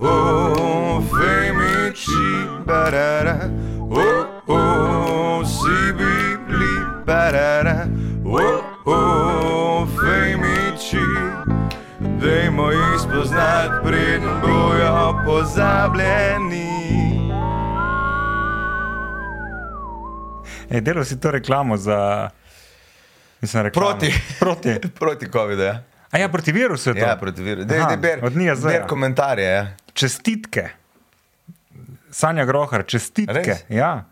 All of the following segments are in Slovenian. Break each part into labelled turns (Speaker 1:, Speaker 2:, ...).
Speaker 1: Oh, barara. Oh, oh, CB, bli, barara. Oh, oh, fejmiči. Dajmo jih spoznati, preden bojo pozabljeni.
Speaker 2: Ej, delal si to reklamo za. Mislim, reklamo.
Speaker 1: Proti.
Speaker 2: proti.
Speaker 1: Proti COVID-u, ja.
Speaker 2: A ja, proti virusu je to.
Speaker 1: Ja, proti virusu. Dej,
Speaker 2: Aha,
Speaker 1: dej, ber,
Speaker 2: od NIAZ-ja.
Speaker 1: ber komentarje. Ja.
Speaker 2: Čestitke. Sanja Grohar, čestitke.
Speaker 1: Res?
Speaker 2: Ja.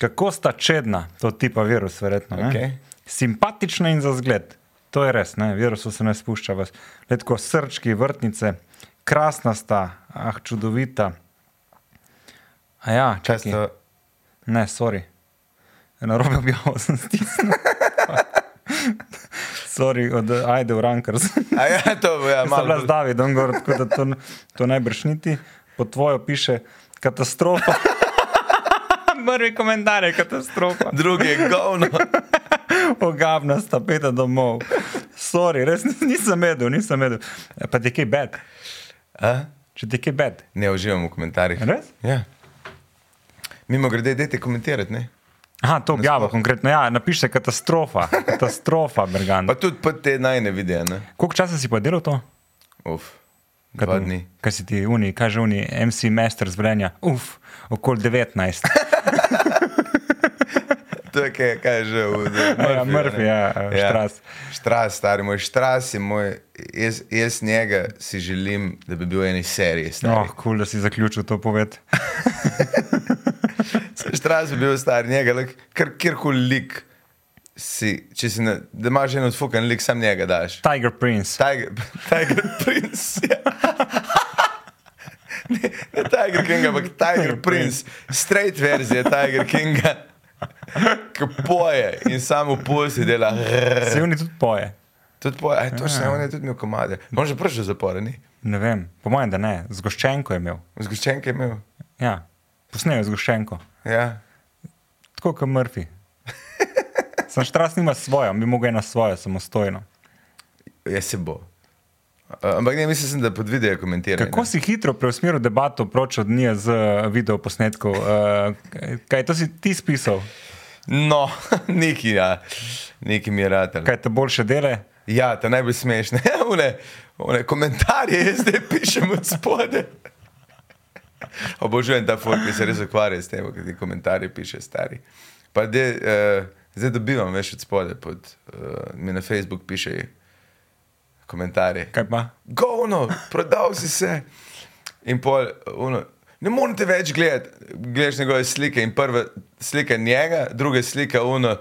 Speaker 2: Kako sta čedna, to tipa virus, verjetno. ne?
Speaker 1: Okej.
Speaker 2: Simpatična in za zgled. To je res, ne? virusu se ne spušča vas. Letko srčki, vrtnice, krasna sta, ah, čudovita. A ja,
Speaker 1: Kaj
Speaker 2: čakaj.
Speaker 1: sta-
Speaker 2: Ne, sorry. Na robe objavil sem stisnjen. sorry, od Aide Urankar sem.
Speaker 1: A ja, to bo, ja,
Speaker 2: Sem bila
Speaker 1: malo.
Speaker 2: z Davidom, gor, tako da to, to najbrž niti. Pod tvojo piše katastrofa. Prvi komentar je katastrofa.
Speaker 1: Drugi je govno.
Speaker 2: Ogabna sta peta domov. Sorry, res nis- nisem medel, nisem medel. Pa ti je kaj bed,
Speaker 1: A?
Speaker 2: če ti je kaj bed.
Speaker 1: Ne uživam v komentarjih.
Speaker 2: Res?
Speaker 1: Ja. Mimo grede, dajte komentirati. Ne?
Speaker 2: Aha, to objavo,
Speaker 1: Nasploh.
Speaker 2: konkretno. Ja, napiše katastrofa, katastrofa, Bergan.
Speaker 1: Pa tudi pa te naj ne vidijo. Ne?
Speaker 2: Koliko časa si pa delal to?
Speaker 1: Uf, dva dni.
Speaker 2: Kaj si ti, uni, kaj že uni, MC Master zbrenja, uf, okoli 19.
Speaker 1: To je kaj, kaj je že v
Speaker 2: Ja, Murphy,
Speaker 1: ne?
Speaker 2: ja, Štras.
Speaker 1: Štras, stari moj, štras je moj. Jaz, jaz njega si želim, da bi bil v eni seriji.
Speaker 2: No,
Speaker 1: stari.
Speaker 2: oh, kul, cool, da si zaključil to poved. No.
Speaker 1: Štras bi bil star, njega, lahko kar kjerkoli lik. Si, če si na, da imaš en odfukan lik, sam njega daš.
Speaker 2: Tiger Prince.
Speaker 1: Tiger, Tiger Prince. Ja. Ne, ne Tiger King, ampak Tiger Prince, straight verzija Tiger Kinga, ki poje in samo pulsi dela.
Speaker 2: Se oni tudi poje.
Speaker 1: Tudi poje, aj to še ne, on je tudi imel komade. On že prši zaporeni,
Speaker 2: Ne vem, po mojem, da ne. Zgoščenko je imel.
Speaker 1: zgoščenke je imel.
Speaker 2: Ja, posnejo zgoščenko.
Speaker 1: Ja.
Speaker 2: Tako kot Murphy. Sam štras nima svojo, bi mogel ena svojo, samostojno.
Speaker 1: Ja, se bo. A, Ampak ne, mislim, sem, da pod video komentirajo.
Speaker 2: Kako si hitro preusmeril debato proč od nje z video posnetkov? Kaj to si ti spisal?
Speaker 1: No, neki, ja. neki mi je ratelj.
Speaker 2: Kaj te boljše dele?
Speaker 1: Ja, te najbolj smešne. Une, une komentarje jaz zdaj pišem od spode. Obožujem ta folk, ki se res ukvarja s tem, kaj ti komentarje piše stari. Pa de, uh, zdaj dobivam več od spode, pod, uh, mi na Facebook piše komentarje.
Speaker 2: Kaj pa?
Speaker 1: Govno, prodal si se. In pol, ono, ne morete več gledati, gledaš njegove slike. In prva slika njega, druga slika, uno,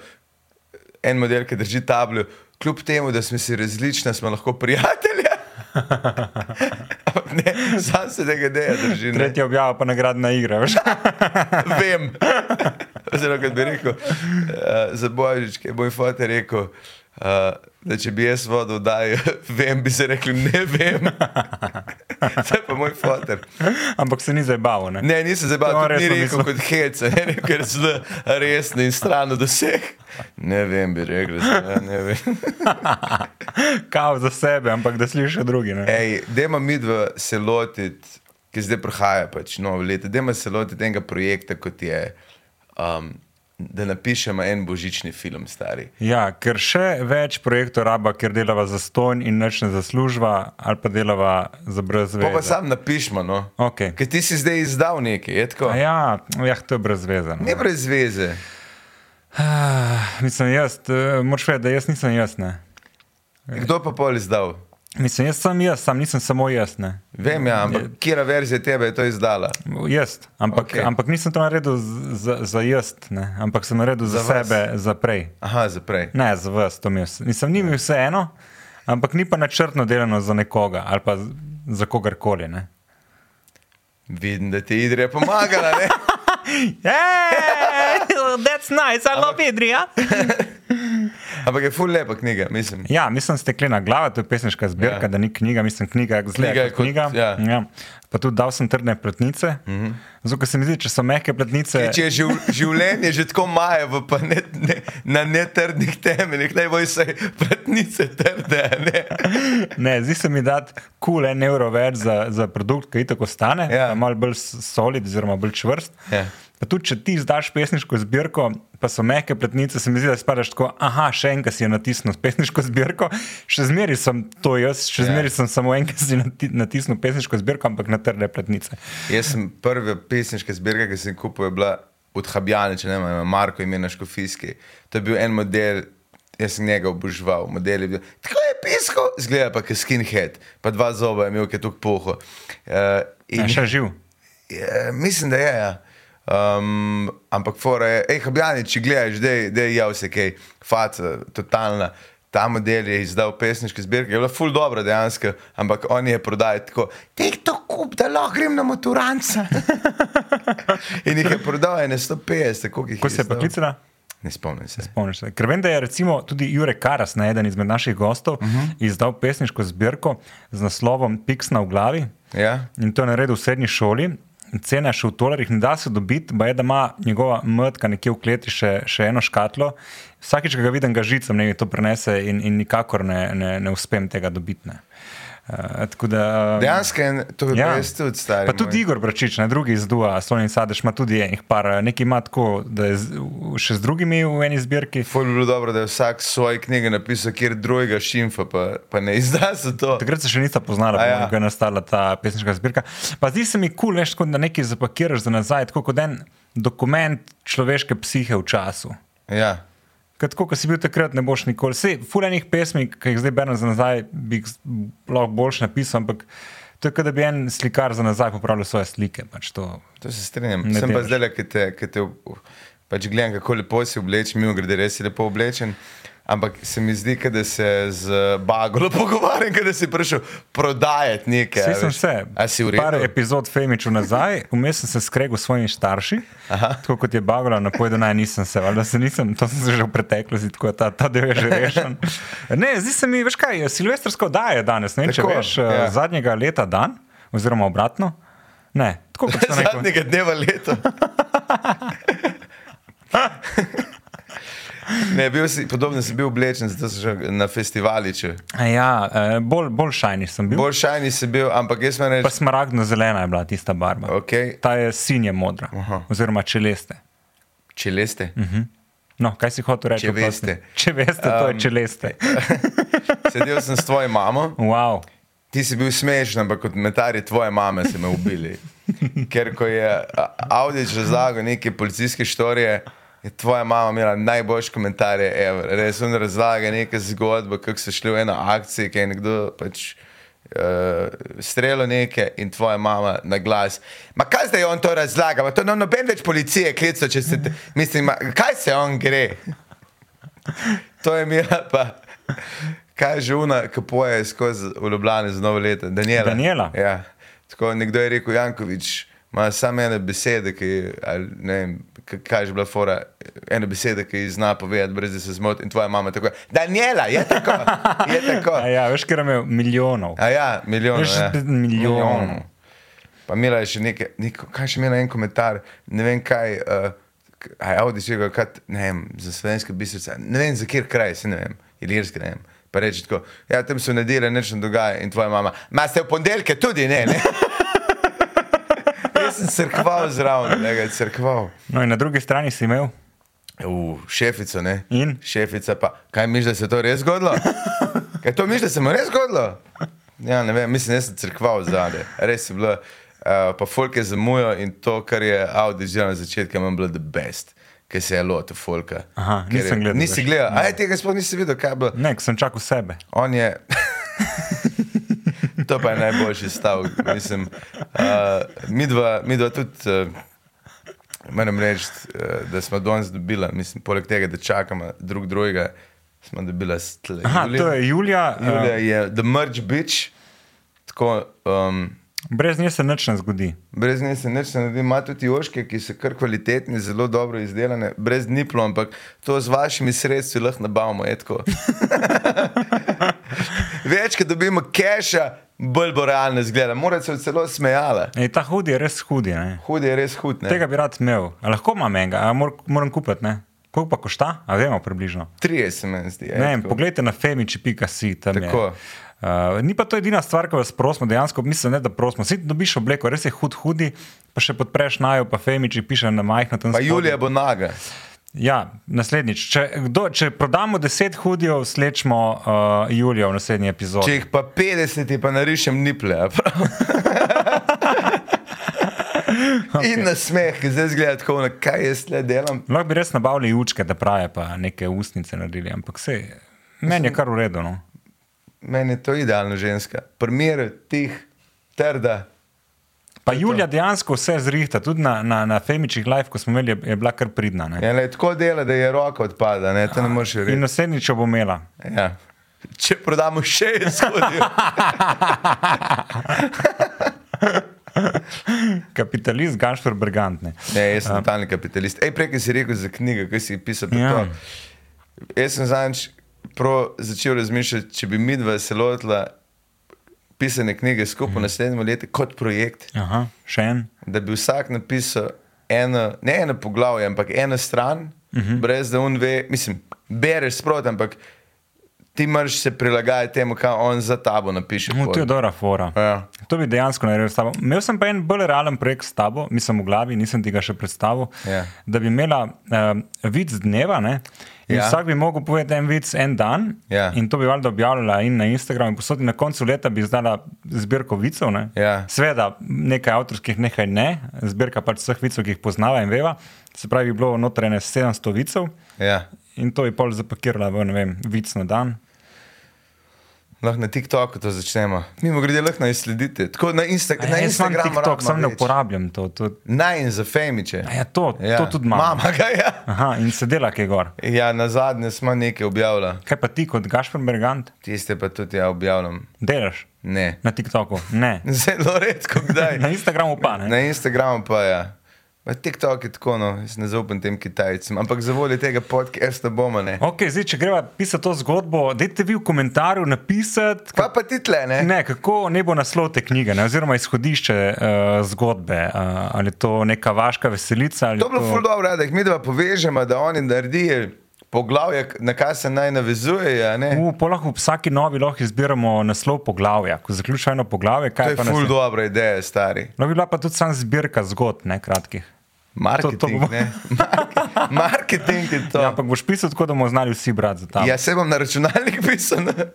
Speaker 1: en model, ki drži tablo. Kljub temu, da smo si različni, smo lahko prijatelji. Ampak ne, sam se tega deja drži. ne.
Speaker 2: Tretja objava pa nagradna igra. veš.
Speaker 1: Vem. Oziroma, kot bi rekel, uh, za božič, ki je moj fotor rekel, uh, da če bi jaz vodo dal, vem, bi se rekli, ne vem. to je pa moj fotor.
Speaker 2: Ampak se ni zabaval. Ne?
Speaker 1: Ne, nisem se
Speaker 2: No,
Speaker 1: bal, tudi ni
Speaker 2: resno
Speaker 1: rekel
Speaker 2: mislim.
Speaker 1: kot hec, ne rekel, ker sem resni in stran od vseh. Ne vem, bi rekel, da ne vem.
Speaker 2: Kao za sebe, ampak da slišiš drugi. Ne?
Speaker 1: Ej, dajmo mi dva se lotiti, ki zdaj prihaja, pač novo leto, dajmo se lotiti enega projekta, kot je, um, da napišemo en božični film, stari.
Speaker 2: Ja, ker še več projektov raba, ker delava za ston in nič ne zaslužva, ali pa delava za brez
Speaker 1: Pa pa
Speaker 2: veze.
Speaker 1: sam napišemo, no.
Speaker 2: Okay.
Speaker 1: Ker ti si zdaj izdal nekaj, je tako?
Speaker 2: A Ja, jah, to je brez veze. no.
Speaker 1: Ne brez veze.
Speaker 2: Ah, Mislim, jaz, eh, moraš vedeti, da jaz nisem jaz. Ne?
Speaker 1: Kdo pa pol izdal?
Speaker 2: Mislim, jaz sem jaz, sam nisem samo jaz. Ne?
Speaker 1: Vem, ja, ampak kera verzija tebe je to izdala?
Speaker 2: Jaz, ampak,
Speaker 1: Okej.
Speaker 2: okay. ampak nisem to naredil z- za, za jaz, ne? ampak sem naredil
Speaker 1: Za
Speaker 2: za, za
Speaker 1: vas.
Speaker 2: sebe, za prej.
Speaker 1: Aha, zaprej.
Speaker 2: Ne, za vas, to mi je vse. Nisem njim vseeno, ampak ni pa načrtno delano za nekoga ali pa z- za kogarkoli. Ne?
Speaker 1: Vidim, da ti je Idrija pomagala, ne?
Speaker 2: Hey, that's nice, I love Idrija.
Speaker 1: Ampak je ful lepa knjiga, mislim.
Speaker 2: Ja, mislim, steklena glava, to je pesniška zbirka,
Speaker 1: Ja.
Speaker 2: ja. da ni knjiga, mislim, knjiga, zelo
Speaker 1: Knjiga je
Speaker 2: je
Speaker 1: kot-
Speaker 2: kot knjiga.
Speaker 1: ja. Mhm.
Speaker 2: Ja. Pa tudi dal sem trdne platnice. Mm -hmm. Zato, ker se mi zdi, če so mehke platnice,
Speaker 1: Če je živ, življenje že tako majevo, pa ne, ne, na netrdnih temeljih, naj bo vse platnice trde. a Ne?
Speaker 2: ne, zdi se mi, da kul cool en evro več za, za produkt, ki tako stane,
Speaker 1: Ja.
Speaker 2: ja. malo bolj s- solid, oziroma bolj čvrst.
Speaker 1: Ja.
Speaker 2: Pa tudi, če ti izdaš pesniško zbirko, pa so mehke platnice, se mi zdi, da spadaš tako, aha, še enkrat si je natisnil pesniško zbirko, še zmeri sem to jaz, še
Speaker 1: Ja.
Speaker 2: ja. zmeri sem samo enkrat si nati- natisnil pesniško zbirko, ampak na trde platnice.
Speaker 1: Jaz sem prva pesniška zbirka, ki sem jo kupil, je bila od Habjana, če ne vem, Marko ime na Škofijski. To je bil en model, jaz sem njega oboževal, model je bil. Tako je pisko, zgleda pa kot skinhead, pa dva zoba je imel, ki je tukaj poho. Uh,
Speaker 2: Je še živ.
Speaker 1: Ja, mislim, da je. Ja. Um, ampak, fora je, hej, Habjani, če gledaš, da je jav se kaj, fat, totalna. Ta model je izdal pesniške zbirke, je bila ful dobro dejansko, ampak on je prodajal tako, te to kup, da lahko grem na maturanca. In jih je prodal, je ne 150, tako jih je.
Speaker 2: Ko se je
Speaker 1: izdal.
Speaker 2: pa klicala?
Speaker 1: Ne spomnim se.
Speaker 2: Spomniš se. Ker vem, da je recimo tudi Jure Karas, ne, eden izmed naših gostov, uh -huh.
Speaker 1: Mhm.
Speaker 2: izdal pesniško zbirko z naslovom Piksna v glavi.
Speaker 1: Ja?
Speaker 2: In to je naredil v srednji šoli. Cena je še v dolarjih, ne da se dobiti, pa je, da ima njegova mrtka nekje v kleti še, še eno škatlo. Vsakič, ko ga vidim, ga žicam, ne to prenese in, in nikakor ne, ne, ne uspem tega dobiti. ne. Eh, tako da, eh,
Speaker 1: Dejansko je, en- to je ja. res tudi stari.
Speaker 2: Pa tudi Igor Bračič, ne, drugi iz Dua, Slovenij Sadež ima tudi enih par, eh, nekaj ima tako, da je z, v- še z drugimi v eni zbirki.
Speaker 1: Ful bi bilo dobro, da je vsak svoje knjige napisal, kjer drugega šimfa, pa, pa ne izda se to.
Speaker 2: Takrat se še nista poznala,
Speaker 1: A ja.
Speaker 2: ja. kako je nastala ta pesniška zbirka. Pa zdi se mi kul, cool, veš, kot da nekaj zapakiraš za nazaj, tako kot en dokument človeške psihe v času.
Speaker 1: Ja.
Speaker 2: Ker tako, kot si bil takrat, ne boš nikoli. Sej, fulejnih pesmi, ki jih zdaj berem za nazaj, bi jih s- lahko boljš napisal, ampak to je, kot da bi en slikar za nazaj popravljal svoje slike. Pač to,
Speaker 1: To se strinjam.
Speaker 2: Ne
Speaker 1: Sem pa
Speaker 2: delaš.
Speaker 1: zdaj, le, ki te, ki te ob- pač gledam, kako lepo si oblečen, mi grede res si lepo oblečen. Ampak se mi zdi, ke da se z Bagolo pogovarjam, ke da si prišel prodajati nekaj. a
Speaker 2: Saj sem
Speaker 1: Ja, veš.
Speaker 2: se.
Speaker 1: A si v
Speaker 2: Par
Speaker 1: redu?
Speaker 2: epizod Femiču nazaj, vmes sem se skregal s svojimi starši. Aha. Tako kot je Bagola napovedal, naj nisem se, valjda se nisem, to sem se že v preteklosti, tako da ta, ta del je že rešen. Ne, zdi se mi, veš kaj, silvestrsko daje danes, ne vem, če
Speaker 1: Tako,
Speaker 2: veš,
Speaker 1: ja.
Speaker 2: ja. zadnjega leta dan, oziroma obratno. Ne, tako kot sem rekel.
Speaker 1: Zadnjega dneva leta. ne, bil si, podobno si bil oblečen, zato si že na festivaliču.
Speaker 2: Ja, eh, bolj, bolj šajni sem bil. Bolj...
Speaker 1: Bolj šajni si bil, ampak jaz sem
Speaker 2: Pa
Speaker 1: rekel,
Speaker 2: smaragdno zelena je bila tista barva.
Speaker 1: Okej.
Speaker 2: Ta je sinje modra,
Speaker 1: Aha.
Speaker 2: oziroma čeleste.
Speaker 1: če leste.
Speaker 2: No, kaj si hotel reči?
Speaker 1: Če
Speaker 2: oprosti?
Speaker 1: veste.
Speaker 2: Če veste, to
Speaker 1: Um,
Speaker 2: je čeleste.
Speaker 1: Sedel sem s tvojo mamo.
Speaker 2: Wow.
Speaker 1: Ti si bil smešen, ampak kot metari tvoje mame so me ubili. Ker ko je Avdič razlagal neke policijske štorije, je tvoja mama imela najboljše komentarje, ever. res on razlaga neke zgodbe, kako so šli v eno akcijo, ki je nekdo pač. Uh, strelo neke in tvoja mama na glas. Ma kaj zdaj on to razlaga, Ma to no, noben več policije klica, če se te, mislim, ma, kaj se on gre. To je imela pa. Kaj je že una, ki poje skozi v Ljubljani za novo leto? Daniela.
Speaker 2: Daniela?
Speaker 1: Ja. Tako nekdo je rekel, Jankovič ima samo ene besede, ki, ali, ne vem, k- kaj je že bila fora, ena beseda, ki ji zna povedati, brez da se zmoti. In tvoja mama tako, Daniela, je tako, je tako.
Speaker 2: A ja, veš, ker imam milijonov.
Speaker 1: A ja, milijon.
Speaker 2: Veš,
Speaker 1: Ja.
Speaker 2: milijon.
Speaker 1: Pa imela je še nekaj, neko, kaj še imela en komentar, ne vem kaj, uh, aj Audi še ga, kaj, ne vem, za slovenske bistrice, ne vem za kjer kraj, se ne vem, ilirske, ne vem. Pa reči tako, ja, tam so nedelje, nič ne dogaja in tvoja mama, ma ste v ponedeljke tudi, ne, ne. Jaz sem crkval zraven, ne, ga je crkval.
Speaker 2: No, in na drugi strani si imel.
Speaker 1: V šefico, ne?
Speaker 2: In?
Speaker 1: Šefica pa, kaj misliš, da se je to res zgodilo? Kaj to misliš, da se mu je res zgodilo? Ja, ne vem, mislim, da sem crkval zadaj. Res je bilo, uh, pa folk je zamujo in to, kar je Audi že na začetku, imam bilo the best, ker se je lotil folka.
Speaker 2: Aha,
Speaker 1: Ker je-
Speaker 2: nisem gledal,
Speaker 1: Nisi
Speaker 2: veš.
Speaker 1: gledal, aj tega sploh nisi videl, kaj je bilo.
Speaker 2: Ne, ko sem čakal sebe.
Speaker 1: On je. to pa je najboljši stavek. Mislim, uh, mi, dva, mi dva tudi. Uh, Moram reči, eh, da smo danes dobili, mislim, poleg tega, da čakamo drug drugega, smo dobili stle.
Speaker 2: e, Aha, Julija. to je Julija.
Speaker 1: Julija
Speaker 2: eh,
Speaker 1: je The Merge Bitch, tako um,
Speaker 2: Brez nje se nič ne zgodi.
Speaker 1: Brez nje se nič ne naredi, ima tudi oške, ki so kar kvalitetni, zelo dobro izdelane, brez niplo, ampak to z vašimi sredstvi lahko nabavimo. je tako. Več, ko dobimo keša, bolj bo realno zgleda. Mora se celo smejala.
Speaker 2: Ej, E, ta hudi je res hudi. Ne?
Speaker 1: Hud je res hud. Ne?
Speaker 2: Tega bi rad imel. A lahko imam enega, a mor, moram kupiti. ne? Koliko pa košta? A vemo približno.
Speaker 1: 30 meni zdi. je
Speaker 2: Ne vem,
Speaker 1: Ja, tako.
Speaker 2: poglejte na femiči.si tam. je.
Speaker 1: Tako.
Speaker 2: Uh, ni pa to edina stvar, ki vas prosimo, dejansko mislim, ne, da prosimo. Si dobiš obleko, res je hud, hudi, pa še podpreš najo, pa femiči piše na majhno tam
Speaker 1: Pa
Speaker 2: spodaj.
Speaker 1: Julija bo naga.
Speaker 2: Ja, naslednjič. Če, kdo, če prodamo 10 hudijev, slečemo uh, Julijo v naslednji epizodi.
Speaker 1: Če jih pa 50, je pa narišem niple. a prav? In na smeh, ki zdaj zgleda tako, na kaj jaz le delam.
Speaker 2: Lahko bi res nabavili učke, da praje, pa neke ustnice naredili, ampak vse, meni je kar urejeno. No.
Speaker 1: Meni je to idealna ženska. Primer tih trda.
Speaker 2: Pa Julija dejansko vse zrihta, tudi na, na, na Femičih live, ko smo imeli, je, je bila kar pridna. Ne?
Speaker 1: Ja, le, tako dela, da je roka odpada, ne, to ne moreš
Speaker 2: In
Speaker 1: reči.
Speaker 2: naslednjič jo bo imela.
Speaker 1: Ja. Če prodamo še izhodijo.
Speaker 2: Kapitalist, Gašpor Brigantne.
Speaker 1: Ne, jaz sem totalni kapitalist. Ej, prej, ki si rekel za knjige, ki si pisal
Speaker 2: Ja.
Speaker 1: ja. to. Jaz sem zadnjič prav začel razmišljati, če bi midva se lotila pisanja knjige skupaj mm. naslednje leto kot projekt,
Speaker 2: Aha, še en.
Speaker 1: da bi vsak napisal eno, ne eno poglavje, ampak eno stran, mm
Speaker 2: Mhm.
Speaker 1: -hmm. brez da on ve, mislim, bereš sprot, ampak ti moraš se prilagajati temu, kaj on za tabo napiše.
Speaker 2: No, to
Speaker 1: pol.
Speaker 2: je dobra fora.
Speaker 1: Ja.
Speaker 2: To bi dejansko naredil s tabo. Imel sem pa en bolj realen projekt s tabo, mislim v glavi, nisem ti ga še predstavil.
Speaker 1: Ja.
Speaker 2: Da bi imela um, vid dneva, ne? in
Speaker 1: Ja.
Speaker 2: ja. vsak bi lahko povedal en vid en dan,
Speaker 1: Ja.
Speaker 2: in to bi valjda objavljala in na Instagramu, in posod in na koncu leta bi izdala zbirko vicev. ne.
Speaker 1: Ja.
Speaker 2: Sveda, nekaj avtorskih, nekaj ne, zbirka pač vseh vicev, ki jih poznava in veva. Se pravi, bi bilo notranje 700 vicev
Speaker 1: Ja.
Speaker 2: in to bi pol zapakirala v, ne vem, vic na dan.
Speaker 1: Lahko na TikToku to začnemo. Mimo grede, lahko naj sledite. Tako na, Insta
Speaker 2: A ja,
Speaker 1: na
Speaker 2: jaz imam
Speaker 1: Instagramu.
Speaker 2: TikTok,
Speaker 1: rabimo
Speaker 2: sam ne
Speaker 1: več.
Speaker 2: uporabljam to. to
Speaker 1: Naj in za femiče.
Speaker 2: A Ja, to, ja. to tudi imam.
Speaker 1: Mama ga je.
Speaker 2: Aha, in se dela, ki je gor.
Speaker 1: Ja, na zadnje smo nekaj objavljali,
Speaker 2: Kaj pa ti kot Gašpor Bergant
Speaker 1: tiste pa tudi ja objavljam.
Speaker 2: delaš
Speaker 1: Ne.
Speaker 2: na TikToku? Ne.
Speaker 1: Zelo redko kdaj.
Speaker 2: Na Instagramu pa ne.
Speaker 1: Na Instagramu pa ja. Pa TikTok je tako, no, jaz ne zaupam tem Kitajcem, ampak za voljo tega podcasta bomo ne.
Speaker 2: Okay, zdaj, če greva pisati to zgodbo, dajte vi v komentarju napisati.
Speaker 1: Pa pa ti tle, ne?
Speaker 2: Ne, kako ne bo naslov te knjige, ne? oziroma izhodišče uh, zgodbe, uh, ali je to neka vaška veselica. ali
Speaker 1: To je bilo
Speaker 2: to-
Speaker 1: ful dobro, da jih mi dva povežemo, da oni naredijo poglavje, na kaj se naj navezuje. a ne.
Speaker 2: V, po lahko v vsaki novi lahko izbiramo naslov poglavja, ko zaključimo eno poglavje.
Speaker 1: To
Speaker 2: kaj
Speaker 1: je
Speaker 2: pa nas
Speaker 1: ful dobra ideja, stari.
Speaker 2: No, bi bila pa tudi sama zbirka zgodb, ne kratkih.
Speaker 1: Marketing,
Speaker 2: To- to bomo-
Speaker 1: ne? Marke- Marketing je to.
Speaker 2: Ja, ampak boš pisal tako, da bomo znali vsi brati za ta.
Speaker 1: Ja, se bom na računalnik pisal. ne.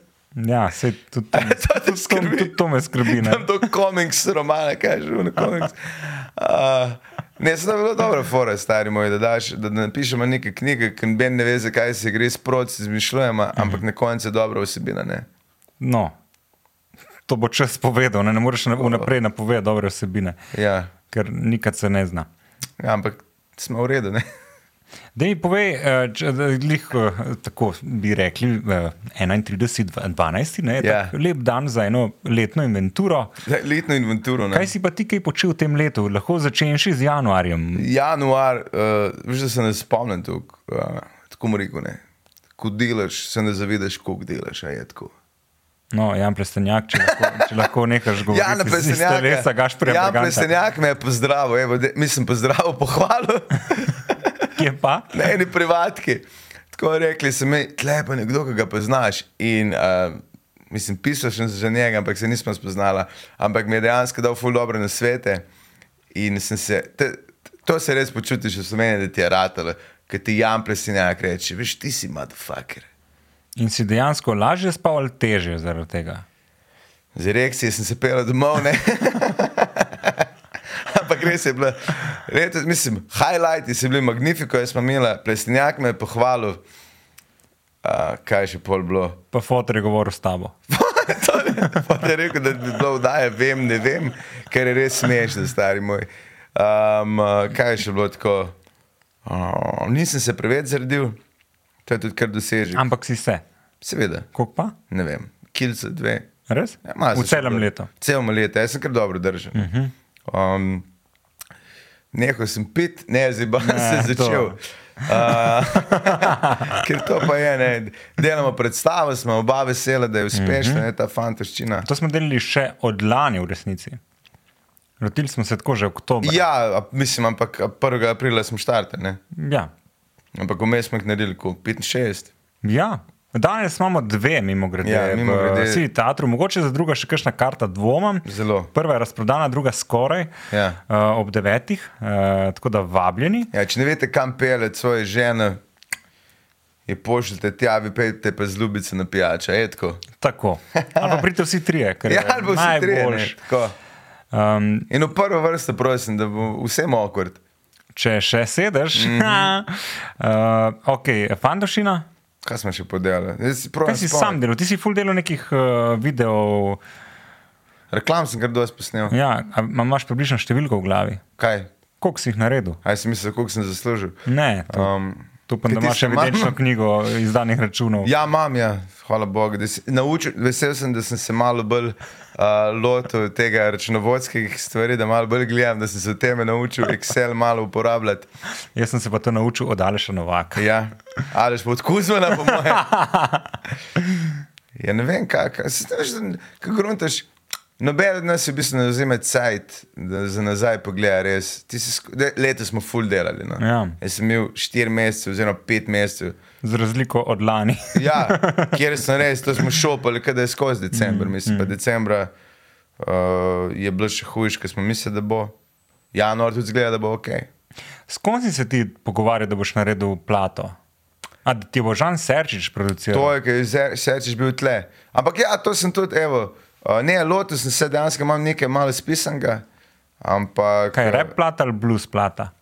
Speaker 2: Ja, se tudi to,
Speaker 1: te
Speaker 2: tudi to,
Speaker 1: skrbi?
Speaker 2: tudi to me skrbi. ne.
Speaker 1: Tam do komiks romana, kaže, v komiks. Uh, ne, se da bilo dobro, fora, stari moj, da, daš, da napišemo neke knjige, ki ben ne ve, zakaj se gre sproti, izmišljujemo,
Speaker 2: Mhm.
Speaker 1: ampak na koncu je dobra vsebina. Ne?
Speaker 2: No, to bo čas povedal, ne, ne moreš na- vnaprej napovedati dobre vsebine,
Speaker 1: Ja,
Speaker 2: ker nikad se ne zna.
Speaker 1: ampak smo v redu, ne?
Speaker 2: Da mi povej, eh, če- da glih, eh, tako bi rekli, eh, 31.12. Ne,
Speaker 1: Ja.
Speaker 2: ja. Lep dan za eno letno inventuro.
Speaker 1: Zdaj, Letno inventuro. Ne?
Speaker 2: Kaj si pa ti kaj počel v tem letu? Lahko začneš z januarjem.
Speaker 1: Januar, uh, veš, da se ne spomnim tukaj, uh, tako mu rekel, ne. Ko delaš, se ne zavedaš, koliko delaš, a je tako.
Speaker 2: No, Jan Plestenjak, če lahko, če lahko nehaš govoriti.
Speaker 1: Ja, na
Speaker 2: iz- iz
Speaker 1: plesenjaku.
Speaker 2: telesa Gašperja
Speaker 1: Ja,
Speaker 2: Berganta.
Speaker 1: plesenjak me je pozdravil, evo, de, mislim, pozdravil, pohvalil
Speaker 2: Kje pa?
Speaker 1: na eni privatki. Tako rekli so mi, tle je pa nekdo, ki ga poznaš. In, uh, mislim, pisal sem za njega, ampak se nismo spoznala. Ampak mi je dejansko dal ful dobre nasvete. In sem se, te, to se res počutiš, v Sloveniji, da ti je ratalo, ker ti jam plesenjak reče, veš, ti si motherfucker.
Speaker 2: In si dejansko lažje spal ali teže zaradi tega?
Speaker 1: Z erekcije sem se pel domov, ne. Ampak res je bilo, letos, mislim, highlighti so bili magnifiko, jaz sem imel, plesnjak me je pohvalil, uh, kaj je še pol bilo.
Speaker 2: Pa fotor je govoril s tabo.
Speaker 1: to je, pol je rekel, da bi bilo vdaje, vem, ne vem, ker je res smešno, stari moj. Um, uh, kaj je še bilo tako? Uh, nisem se preveč zredil, to je tudi kar dosežek.
Speaker 2: Ampak si se,
Speaker 1: Seveda,
Speaker 2: koliko pa?
Speaker 1: ne vem, kilce dve.
Speaker 2: Res?
Speaker 1: Ja, malo
Speaker 2: v
Speaker 1: sem še
Speaker 2: celem
Speaker 1: dobro-
Speaker 2: letu. Mhm.
Speaker 1: Celem letu, jaz sem kar dobro držal. Uh -huh. um, Nehal sem pit, ne zdaj pa
Speaker 2: Ne,
Speaker 1: sem
Speaker 2: to.
Speaker 1: začel. Uh, ker to pa je, ne. delamo predstavo, smo oba vesela, da je uspešna
Speaker 2: Mhm.
Speaker 1: uh -huh. ta fantaščina.
Speaker 2: To smo delali še od lani v resnici. Lotili smo se tako že oktober.
Speaker 1: Ja, a- mislim, ampak a 1. aprila smo štartali, ne.
Speaker 2: ja.
Speaker 1: ampak vmes smo jih naredili koliko? 65.
Speaker 2: ja. Danes imamo dve, mimo grede,
Speaker 1: Ja, mimogrede.
Speaker 2: vsi teatru, mogoče za druga še kakšna karta dvomam.
Speaker 1: Zelo.
Speaker 2: Prva je razprodana, druga skoraj
Speaker 1: Ja.
Speaker 2: uh, ob devetih, uh, tako da vabljeni.
Speaker 1: Ja, če ne veste, kam pelete svoje žene, je pošljete tja, vi pejte pa z ljubice na pijača, etko.
Speaker 2: Tako. Ali pa pridite vsi trije, ker
Speaker 1: Ja, ali bo vsi trije. ne,
Speaker 2: najboljš.
Speaker 1: tako.
Speaker 2: Um,
Speaker 1: In v prvo vrsto, prosim, da bo vsem okord.
Speaker 2: če še sedeš,
Speaker 1: Mhm.
Speaker 2: mm -hmm. uh, ok, fantošina.
Speaker 1: Kaj smo še podelali?
Speaker 2: Kaj si sam delal? Ti si full delal nekih uh, videov.
Speaker 1: Reklam sem kar dosti posnel.
Speaker 2: Ja, a ma- imaš približno številko v glavi.
Speaker 1: Kaj?
Speaker 2: Koliko si jih naredil?
Speaker 1: Aj si mislil, koliko sem zaslužil?
Speaker 2: Ne, to,
Speaker 1: Um,
Speaker 2: to pa Ja.
Speaker 1: kaj
Speaker 2: da
Speaker 1: ti
Speaker 2: imaš
Speaker 1: še imam?
Speaker 2: evidenčno knjigo izdanih računov.
Speaker 1: Ja, imam, ja. hvala Bogu. da se- Naučil, vesel sem, da sem se malo bolj uh, lotil tega računovodskih stvari, da malo bolj gledam, da sem se v teme naučil Excel malo uporabljati.
Speaker 2: Jaz sem se pa to naučil od Aleša Novaka.
Speaker 1: Ja, ali še podkuzmena, po mojem. Ja, ne vem, kako gruntaš. Noben od nas je v bistvu ne vzame cajt, da za nazaj pogleda res. Ti si sk- de- Letos smo full delali. No.
Speaker 2: Ja.
Speaker 1: Jaz sem imel 4 mesece, oziroma 5 mesecev.
Speaker 2: Z razliko od lani.
Speaker 1: Ja, kjer sem res, to smo šopali, kaj da je skozi decembr. Mislim, pa decembra uh, je bilo še hujš, ker smo mislili, da bo. Januar tudi zgleda, da bo ok.
Speaker 2: S kom si se ti pogovarjal, da boš naredil plato? A da ti bo Žan Serčič produciral?
Speaker 1: To je, ker je sečeš bil tle. Ampak ja, to sem tudi, evo, uh, ne, lotil sem se dejansko, imam nekaj malo spisanega, ampak
Speaker 2: Kaj je
Speaker 1: uh,
Speaker 2: rep plata ali blues plata?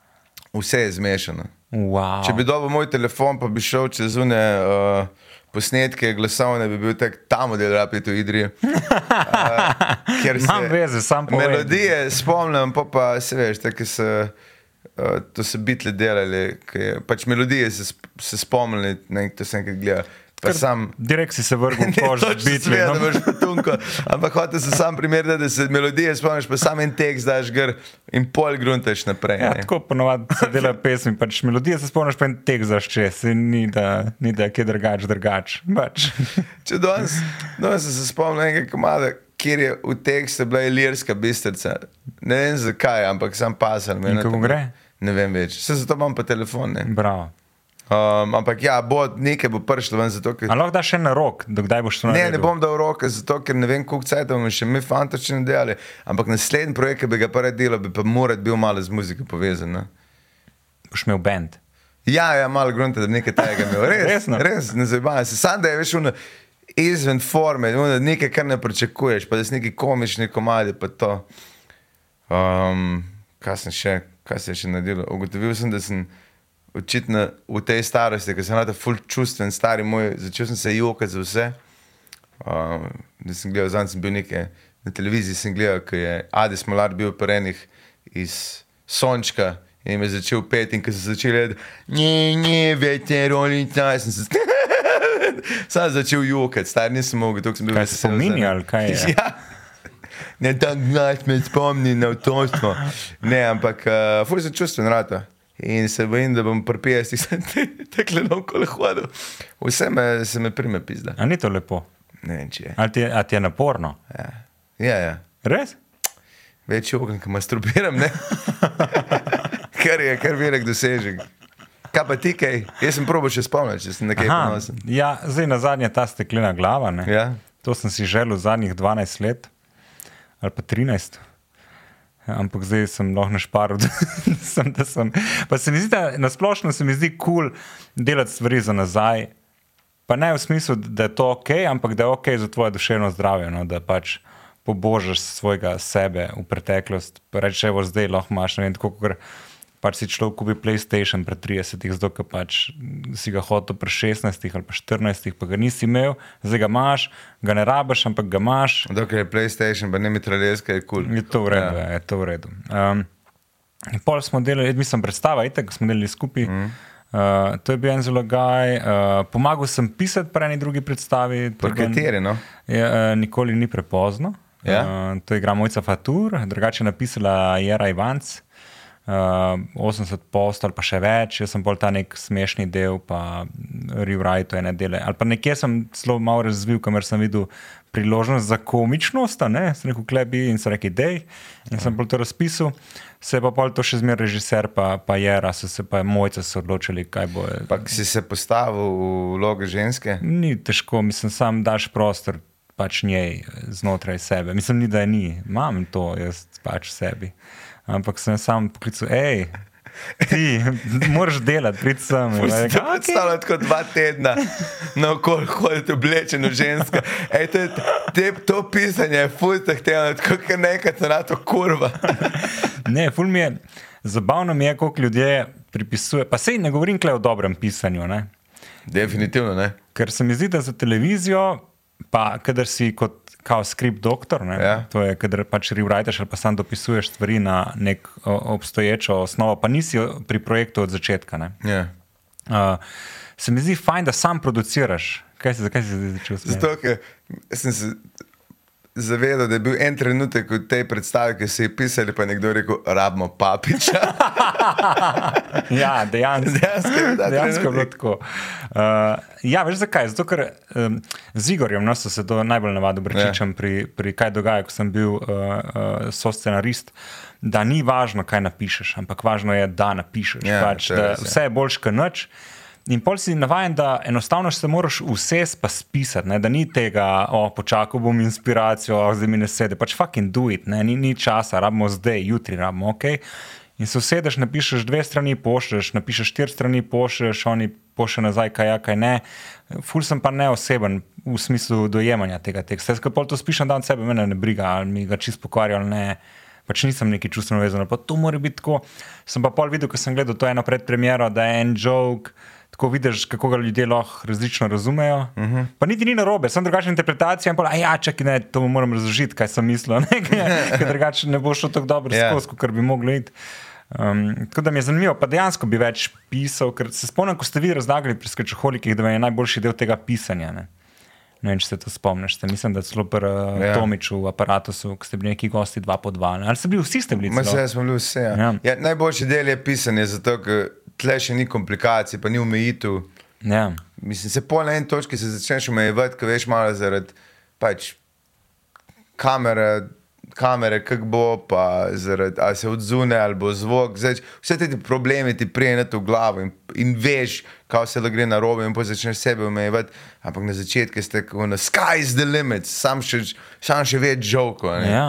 Speaker 1: vse je zmešano.
Speaker 2: Wow.
Speaker 1: Če bi dobil moj telefon, pa bi šel čez une uh, posnetke glasovne, bi bil tak ta model rapid v Idri. Uh,
Speaker 2: Imam veze, sam povej.
Speaker 1: Melodije spomnim, pa pa se veš, tako se. Uh, to so bitli delali, ke je- pač melodije se, sp- se spomnili, ne, to sem enkrat gledal. Pa sam
Speaker 2: Direkt si se vrgel v kož z bitmi.
Speaker 1: Zbitve, da imaš potunko. Ampak hotel sem sam primer, da, da se melodije spomniš, pa sam en tekst daš gor in pol gruntaš naprej.
Speaker 2: Ja,
Speaker 1: ne.
Speaker 2: tako ponovadi se dela pesmi, pač melodije se spomniš, pa en tek zašče, se ni da, ni da je kje drugač, drugač. Pač.
Speaker 1: Če danes, danes sem se spomnil nekaj komada, kjer je v tekstu bila ilirska bistrica. Ne vem zakaj, ampak sam pasal. me
Speaker 2: In
Speaker 1: na
Speaker 2: kako
Speaker 1: tem-
Speaker 2: gre?
Speaker 1: Ne vem več, vse zato imam pa telefon. ne.
Speaker 2: Bravo.
Speaker 1: Um, ampak ja, bo, nekaj bo prišlo ven, zato ker
Speaker 2: A lahko daš še na rok, dokdaj boš to naredil?
Speaker 1: Ne, ne bom dal roke, zato ker ne vem, koliko cajt bomo še mi fantastično delali. Ampak naslednji projekt, ki bi ga prvi delal, bi pa moral biti malo z muziko povezan. Ne?
Speaker 2: Boš imel bend.
Speaker 1: Ja, ja, malo grunte, da bi nekaj tega imel. Res,
Speaker 2: Resno?
Speaker 1: res ne zabavaj se. Sam da je veš, ono, izven forme, ono, nekaj, kar ne pričakuješ, pa da si neki komični komadi, pa to. Um, kaj sem še, kaj sem še naredil? Ugotovil sem, da sem očitno v tej starosti, ker sem rada ful čustven, stari moj, začel sem se jokati za vse. Um, da sem gledal, zadnjič sem bil nekaj na televiziji, sem gledal, ko je Ades Molar bil prenih iz Sončka in me začel peti in ko sem začel reči, ne, ne, veterolita, sem se sam začel jokati, star nisem mogel, tako sem bil
Speaker 2: Kaj se
Speaker 1: vesel
Speaker 2: spomini
Speaker 1: za-
Speaker 2: ali kaj je?
Speaker 1: Ja. Ne, da nas me spomni na otroštvo. Ne, ampak uh, fur se čustven rata. In se bojim, da bom pri 50-ih tekle na okol hodil. Vse me, se me prime pizda.
Speaker 2: A ni to lepo?
Speaker 1: Ne vem, če je.
Speaker 2: Ali ti, je- a ti je naporno?
Speaker 1: Ja, ja. ja.
Speaker 2: Res?
Speaker 1: Več ognja, ki masturbiram, ne. kar je, kar velik dosežek. Kaj pa ti, kaj? Jaz sem probo še spomnil, če sem nekaj
Speaker 2: Aha,
Speaker 1: ponosen.
Speaker 2: ja, zdaj na zadnje ta steklena glava. Ne?
Speaker 1: Ja.
Speaker 2: To sem si želel zadnjih 12 let ali pa 13. Ampak zdaj sem lahko našparil, da sem. Da sem. Pa se mi zdi, da na splošno se mi zdi kul cool delati stvari za nazaj. Pa ne v smislu, da je to ok, ampak da je ok za tvoje duševno zdravje, no? da pač pobožaš svojega sebe v preteklost. Pa Reče, evo zdaj lahko imaš, ne vem, tako kot pač si človek kupi PlayStation pred 30, zato ker pač si ga hotel pri 16 ali pa 14, pa ga nisi imel, zdaj ga imaš, ga ne rabiš, ampak ga imaš.
Speaker 1: Dokler je PlayStation, pa ne mitraljeska, je kul. Cool.
Speaker 2: Je to v redu, ja. je to v redu. Um, pol smo delali, jaz mislim, predstava, itek smo delali skupaj. Mm. Uh, to je bil en zelo gaj. Uh, pomagal sem pisati pri eni drugi predstavi. to je bil en-
Speaker 1: Kateri, no?
Speaker 2: Je, uh, nikoli ni prepozno.
Speaker 1: Ja.
Speaker 2: Uh, to igra Mojca Fatur, drugače je napisala Jera Ivanc. Uh, 80 post ali pa še več, jaz sem bolj ta nek smešni del, pa rewrite ene dele. Ali pa nekje sem zelo malo razvil, ker sem videl priložnost za komičnost, a ne, sem rekel, klebi in so rekli, dej, in sem bolj to razpisal. Se je pa pol to še zmeraj režiser, pa, pa Jera, so se pa mojca so odločili, kaj bo.
Speaker 1: Pa si se postavil v vlogo ženske.
Speaker 2: Ni težko, mislim, sam daš prostor pač njej znotraj sebe. Mislim, ni, da je ni, imam to jaz pač v sebi. Ampak sem jo sam poklical, hej, ti moraš delati, prid sem. In ona je rekla, "Okej."
Speaker 1: Predstavljam okay. kot dva tedna, No, na okol hodite oblečeno žensko. Ej, to, je te, to pisanje je fuj zahtevno, tako kot nekaj na to kurva.
Speaker 2: Ne, ful mi je, zabavno mi je, koliko ljudje pripisuje. Pa sej ne govorim kle o dobrem pisanju, ne?
Speaker 1: Definitivno ne.
Speaker 2: Ker se mi zdi, da za televizijo, pa kadar si kot kao skript doktor, ne,
Speaker 1: Ja.
Speaker 2: to je, kadar pač rewriteš ali pa sam dopisuješ stvari na nek o, obstoječo osnovo, pa nisi o- pri projektu od začetka. Ne.
Speaker 1: Ja.
Speaker 2: Uh, se mi zdi fajn, da sam produciraš. Kaj si, zakaj si zdaj začel s tem?
Speaker 1: Zato, ker sem se zavedal, da je bil en trenutek v tej predstavi, ki si je pisali, pa je nekdo rekel, rabimo papiča.
Speaker 2: Ja, dejansko.
Speaker 1: Dejansko je bil ta
Speaker 2: Dejansko je bilo
Speaker 1: trenutek.
Speaker 2: tako. Uh, ja, veš zakaj? Zato, ker um, z Igorjem no, so se to najbolj navadno brečičem pri, pri kaj dogaja, ko sem bil uh, uh, soscenarist, da ni važno, kaj napišeš, ampak važno je, da napišeš.
Speaker 1: Ja,
Speaker 2: pač,
Speaker 1: to je
Speaker 2: da
Speaker 1: res, ja.
Speaker 2: vse je boljš, kot nič. In pol si navaden, da enostavno se moraš vse pa spisati, ne? da ni tega, o, počakal bom inspiracijo, o, zdaj mi ne sedi, pač fucking do it, ne? ni, ni časa, rabimo zdaj, jutri rabimo, ok. In se usedeš, napišeš dve strani, pošlješ, napišeš štiri strani, pošlješ, oni pošljejo nazaj, kaj ja, kaj ne. Ful sem pa neoseben v smislu dojemanja tega teksta. Jaz, ko pol to spišem, dan sebe, mene ne briga, ali mi ga čist pokvarja ali ne pač nisem neki čustveno vezan, ali pa to mora biti tako. Sem pa pol videl, ko sem gledal to eno predpremjero, da je en joke. Tako vidiš, kako ga ljudje lahko različno razumejo. Uh
Speaker 1: Mhm.
Speaker 2: -huh. Pa niti ni narobe, sem drugačen interpretacija. Pa, ja, čakaj, ne, to mu moram razložiti, kaj sem mislil. ne, Ker ker drugače ne bo šlo tako dobro
Speaker 1: Ja.
Speaker 2: yeah. skozi, kot bi moglo iti. Um, tako da mi je zanimivo, pa dejansko bi več pisal, ker se spomnim, ko ste vi razlagali pri skrčoholikih, da vam je najboljši del tega pisanja. Ne? Ne vem, če se to spomniš. Te, mislim, da celo pri ja.
Speaker 1: Ja.
Speaker 2: Tomiču, v aparatu, ko ste bili neki gosti, dva po dva. ne? Ali ste bili vsi ste bili
Speaker 1: Ma
Speaker 2: celo?
Speaker 1: se smo bili vse. Ja.
Speaker 2: Ja.
Speaker 1: Ja. Ja, najboljši del je pisanje, zato ker tle še ni komplikacij, pa ni omejitev.
Speaker 2: Ja.
Speaker 1: Mislim, se pol na eni točki se začneš omejevati, ker veš malo zaradi pač, kamere, kamere kako bo, pa zaradi, ali se odzune, ali bo zvok. Zdaj, vse te ti problemi ti prijenejo v glavo in, in veš, kaj vse da gre na robe, in pa začneš sebe omejevati. Ampak na začetku ste tako na sky is the limit, sam še, sam še več žoko. Ja.
Speaker 2: Ja.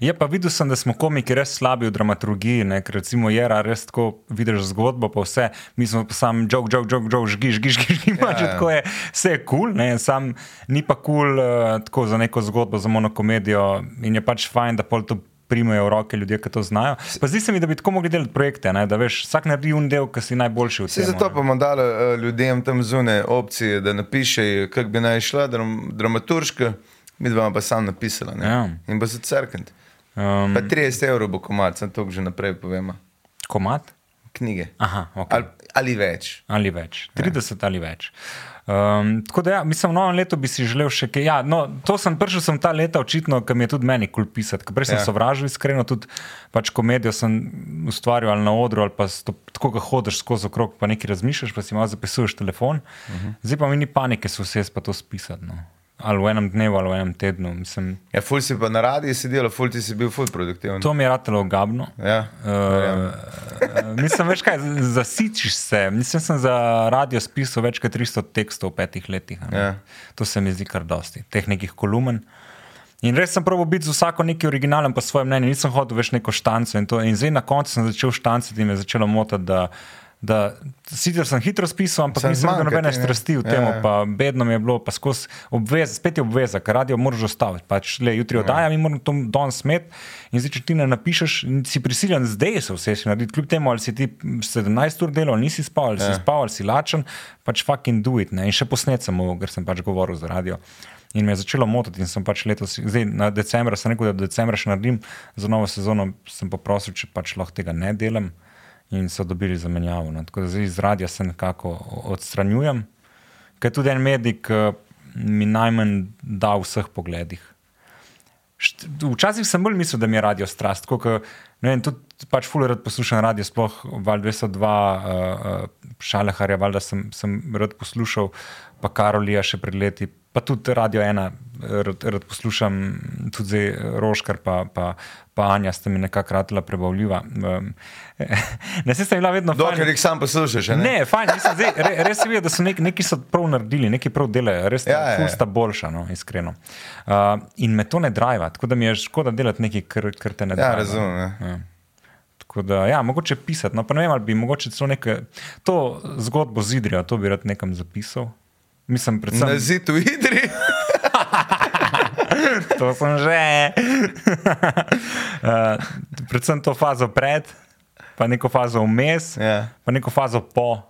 Speaker 2: Je pa videl sem, da smo komiki res slabi v dramaturgiji, ne? ker recimo Jera res tako vidiš zgodbo, pa vse, mi smo pa sam žog, žog, žog, žog, žgi, žgi, žgi, žgi, pač
Speaker 1: ja.
Speaker 2: tako je, vse je kul, cool, sam ni pa kul cool, uh, tako za neko zgodbo, za monokomedijo in je pač fajn, da pol to primejo v roke ljudje, ki to znajo. Pa zdi se mi, da bi tako mogli delati projekte, ne? da veš, vsak naredi un del, ki si najboljši v
Speaker 1: Vse
Speaker 2: tem.
Speaker 1: zato pa bomo dali eh, ljudem tam zunaj opcije, da napišejo, kako bi naj šla dram, dramaturška, mi dva pa sam napisala. ne.
Speaker 2: Ja.
Speaker 1: In bo se crknil.
Speaker 2: Um,
Speaker 1: Pa 30 evrov bo komat, sem to že naprej povem.
Speaker 2: komat?
Speaker 1: Knjige.
Speaker 2: Aha, ok.
Speaker 1: Ali, ali več.
Speaker 2: ali več, 30 ja. ali več. Um, tako da, ja, mislim, v novem letu bi si želel še kaj. Ja, no, to sem prišel sem ta leta, očitno, ker mi je tudi meni kul pisati. Ker Prej sem ja.
Speaker 1: Ja.
Speaker 2: sovražil, iskreno, tudi pač komedijo sem ustvarjal ali na odru, ali pa sto, tako, da hodiš skozi okrog, pa nekaj razmišljaš, pa si malo zapisuješ telefon. Uh -huh. Zdaj pa mi ni panike, so vse jaz pa to spisati. No. Ali v enem dnevu, ali v enem tednu. Mislim,
Speaker 1: Ja, ful si pa na radiju sedel, ful ti si bil ful produktiven.
Speaker 2: to Eh, mi je ratelo ogabno.
Speaker 1: Ja, verjamem.
Speaker 2: Uh, mislim, veš kaj, z- zasičiš se. Mislim, sem za radio spisal več kot 300 tekstov v petih letih. a ne.
Speaker 1: Ja.
Speaker 2: To se mi zdi kar dosti, teh nekih kolumn. In res sem probil biti z vsako neki originalen po svojem mnenju, nisem hodil več neko štanco. In, to, in zdaj na koncu sem začel štancati in me je začelo motiti, da, da sicer sem hitro spisal, ampak
Speaker 1: Samo
Speaker 2: nisem imel
Speaker 1: zmanjka
Speaker 2: nobene
Speaker 1: ti, ne.
Speaker 2: strasti v
Speaker 1: Ja,
Speaker 2: tem,
Speaker 1: ja.
Speaker 2: pa bedno mi je bilo, pa skozi obveze, spet je obveza, ker radio moraš ustaviti. Pač, le, jutri
Speaker 1: Ja.
Speaker 2: oddaja, mi moramo to danes smeti. In zdaj, če ti ne napišeš, in si prisiljen zdaj se vse še narediti, kljub temu, ali si ti 17 ur delal, ali nisi spal, ali si
Speaker 1: Ja.
Speaker 2: spal, ali si lačen, pač fucking do it. Ne? In še posnet sem, mu, ker sem pač govoril za radio. In me je začelo motiti, in sem pač letos, zdaj na decembra, sem rekel, da decembra še naredim, za novo sezono sem pa prosil, če pač lahko tega ne delam. in so dobili zamenjavo. No. Tako da zdaj iz radia se nekako odstranjujem, ker je tudi en medij, ki mi najmanj da v vseh pogledih. Št- Včasih sem bolj mislil, da mi je radio strast, tako kot ne vem, tudi pač fuler rad poslušam radio, sploh val 202, uh, uh, šaleharja, val da sem, sem rad poslušal, pa Karolija še pred leti, pa tudi radio ena, eh, rad, rad poslušam, tudi zdaj eh, Roškar, pa, pa, pa Anja sta mi nekako ratela prebavljiva. Um, ne, se sem bila vedno fajn.
Speaker 1: Dokler jih sam poslušaš, a ne?
Speaker 2: Ne, fajn, mislim, zdaj, re, res je videti, da so nek, neki so prav naredili, neki prav delajo, res
Speaker 1: Ja, ja,
Speaker 2: ja,
Speaker 1: ja.
Speaker 2: sta boljša, no, iskreno. Uh, in me to ne driva, tako da mi je škoda delati nekaj, kar, kar te ne driva.
Speaker 1: Ja, razumem. Ja.
Speaker 2: Ja. Tako da, ja, mogoče pisati, no pa ne vem, ali bi mogoče celo nekaj, to zgodbo z Idrijo, to bi rad nekam zapisal. Mislim, predvsem,
Speaker 1: Na zidu v Idri.
Speaker 2: to sem že. uh, predvsem to fazo pred, pa neko fazo vmes,
Speaker 1: Ja.
Speaker 2: pa neko fazo po.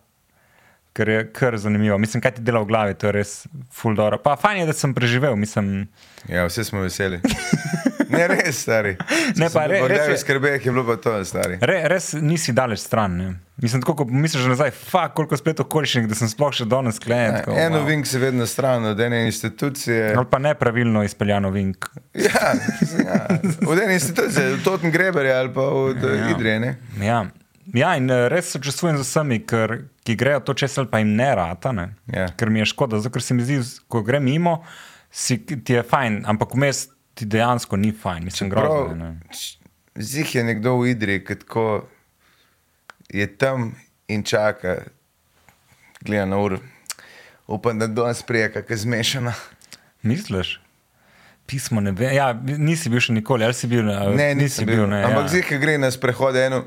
Speaker 2: Ker je kar zanimivo. Mislim, kaj ti dela v glavi, to je res fuldoro. Pa fajn je, da sem preživel, mislim.
Speaker 1: Ja, vsi smo veseli. Ne, res, stari.
Speaker 2: Ne, pa re- res
Speaker 1: Reči,
Speaker 2: je-
Speaker 1: skrbeh je bilo pa to, stari.
Speaker 2: Re, res nisi daleč stran. Ne? Mislim, tako kot misliš nazaj, fa, koliko splet okoliščin, da sem sploh še danes sklenjen. tako,
Speaker 1: En
Speaker 2: wow. No.
Speaker 1: ovink se vedno stran od ene institucije.
Speaker 2: Ali pa nepravilno izpeljano vink.
Speaker 1: Ja, ja. Od ene institucije, od Totten Greberja ali pa od ja. Idrije. Ne?
Speaker 2: Ja. ja, in eh, res sočustvujem z vsemi, ker, ki grejo to čez ali pa jim ne rata, ne?
Speaker 1: Ja.
Speaker 2: ker mi je škoda, zato ker se mi zdi, z- ko gre mimo, si, ti je fajn, ampak vmes ti dejansko ni fajn, mislim, grozno. je, ne.
Speaker 1: č- Zih je nekdo v Idri, ki tako je tam in čaka, gleda na uro. Upam, da danes prije, kaj je zmešana.
Speaker 2: Misliš? Pismo ne ve. Ja, nisi bil še nikoli, ali si bil? ali
Speaker 1: Ne,
Speaker 2: nisi
Speaker 1: nisem bil.
Speaker 2: ne,
Speaker 1: Ampak
Speaker 2: ja.
Speaker 1: zih, ki gre na sprehode, eno,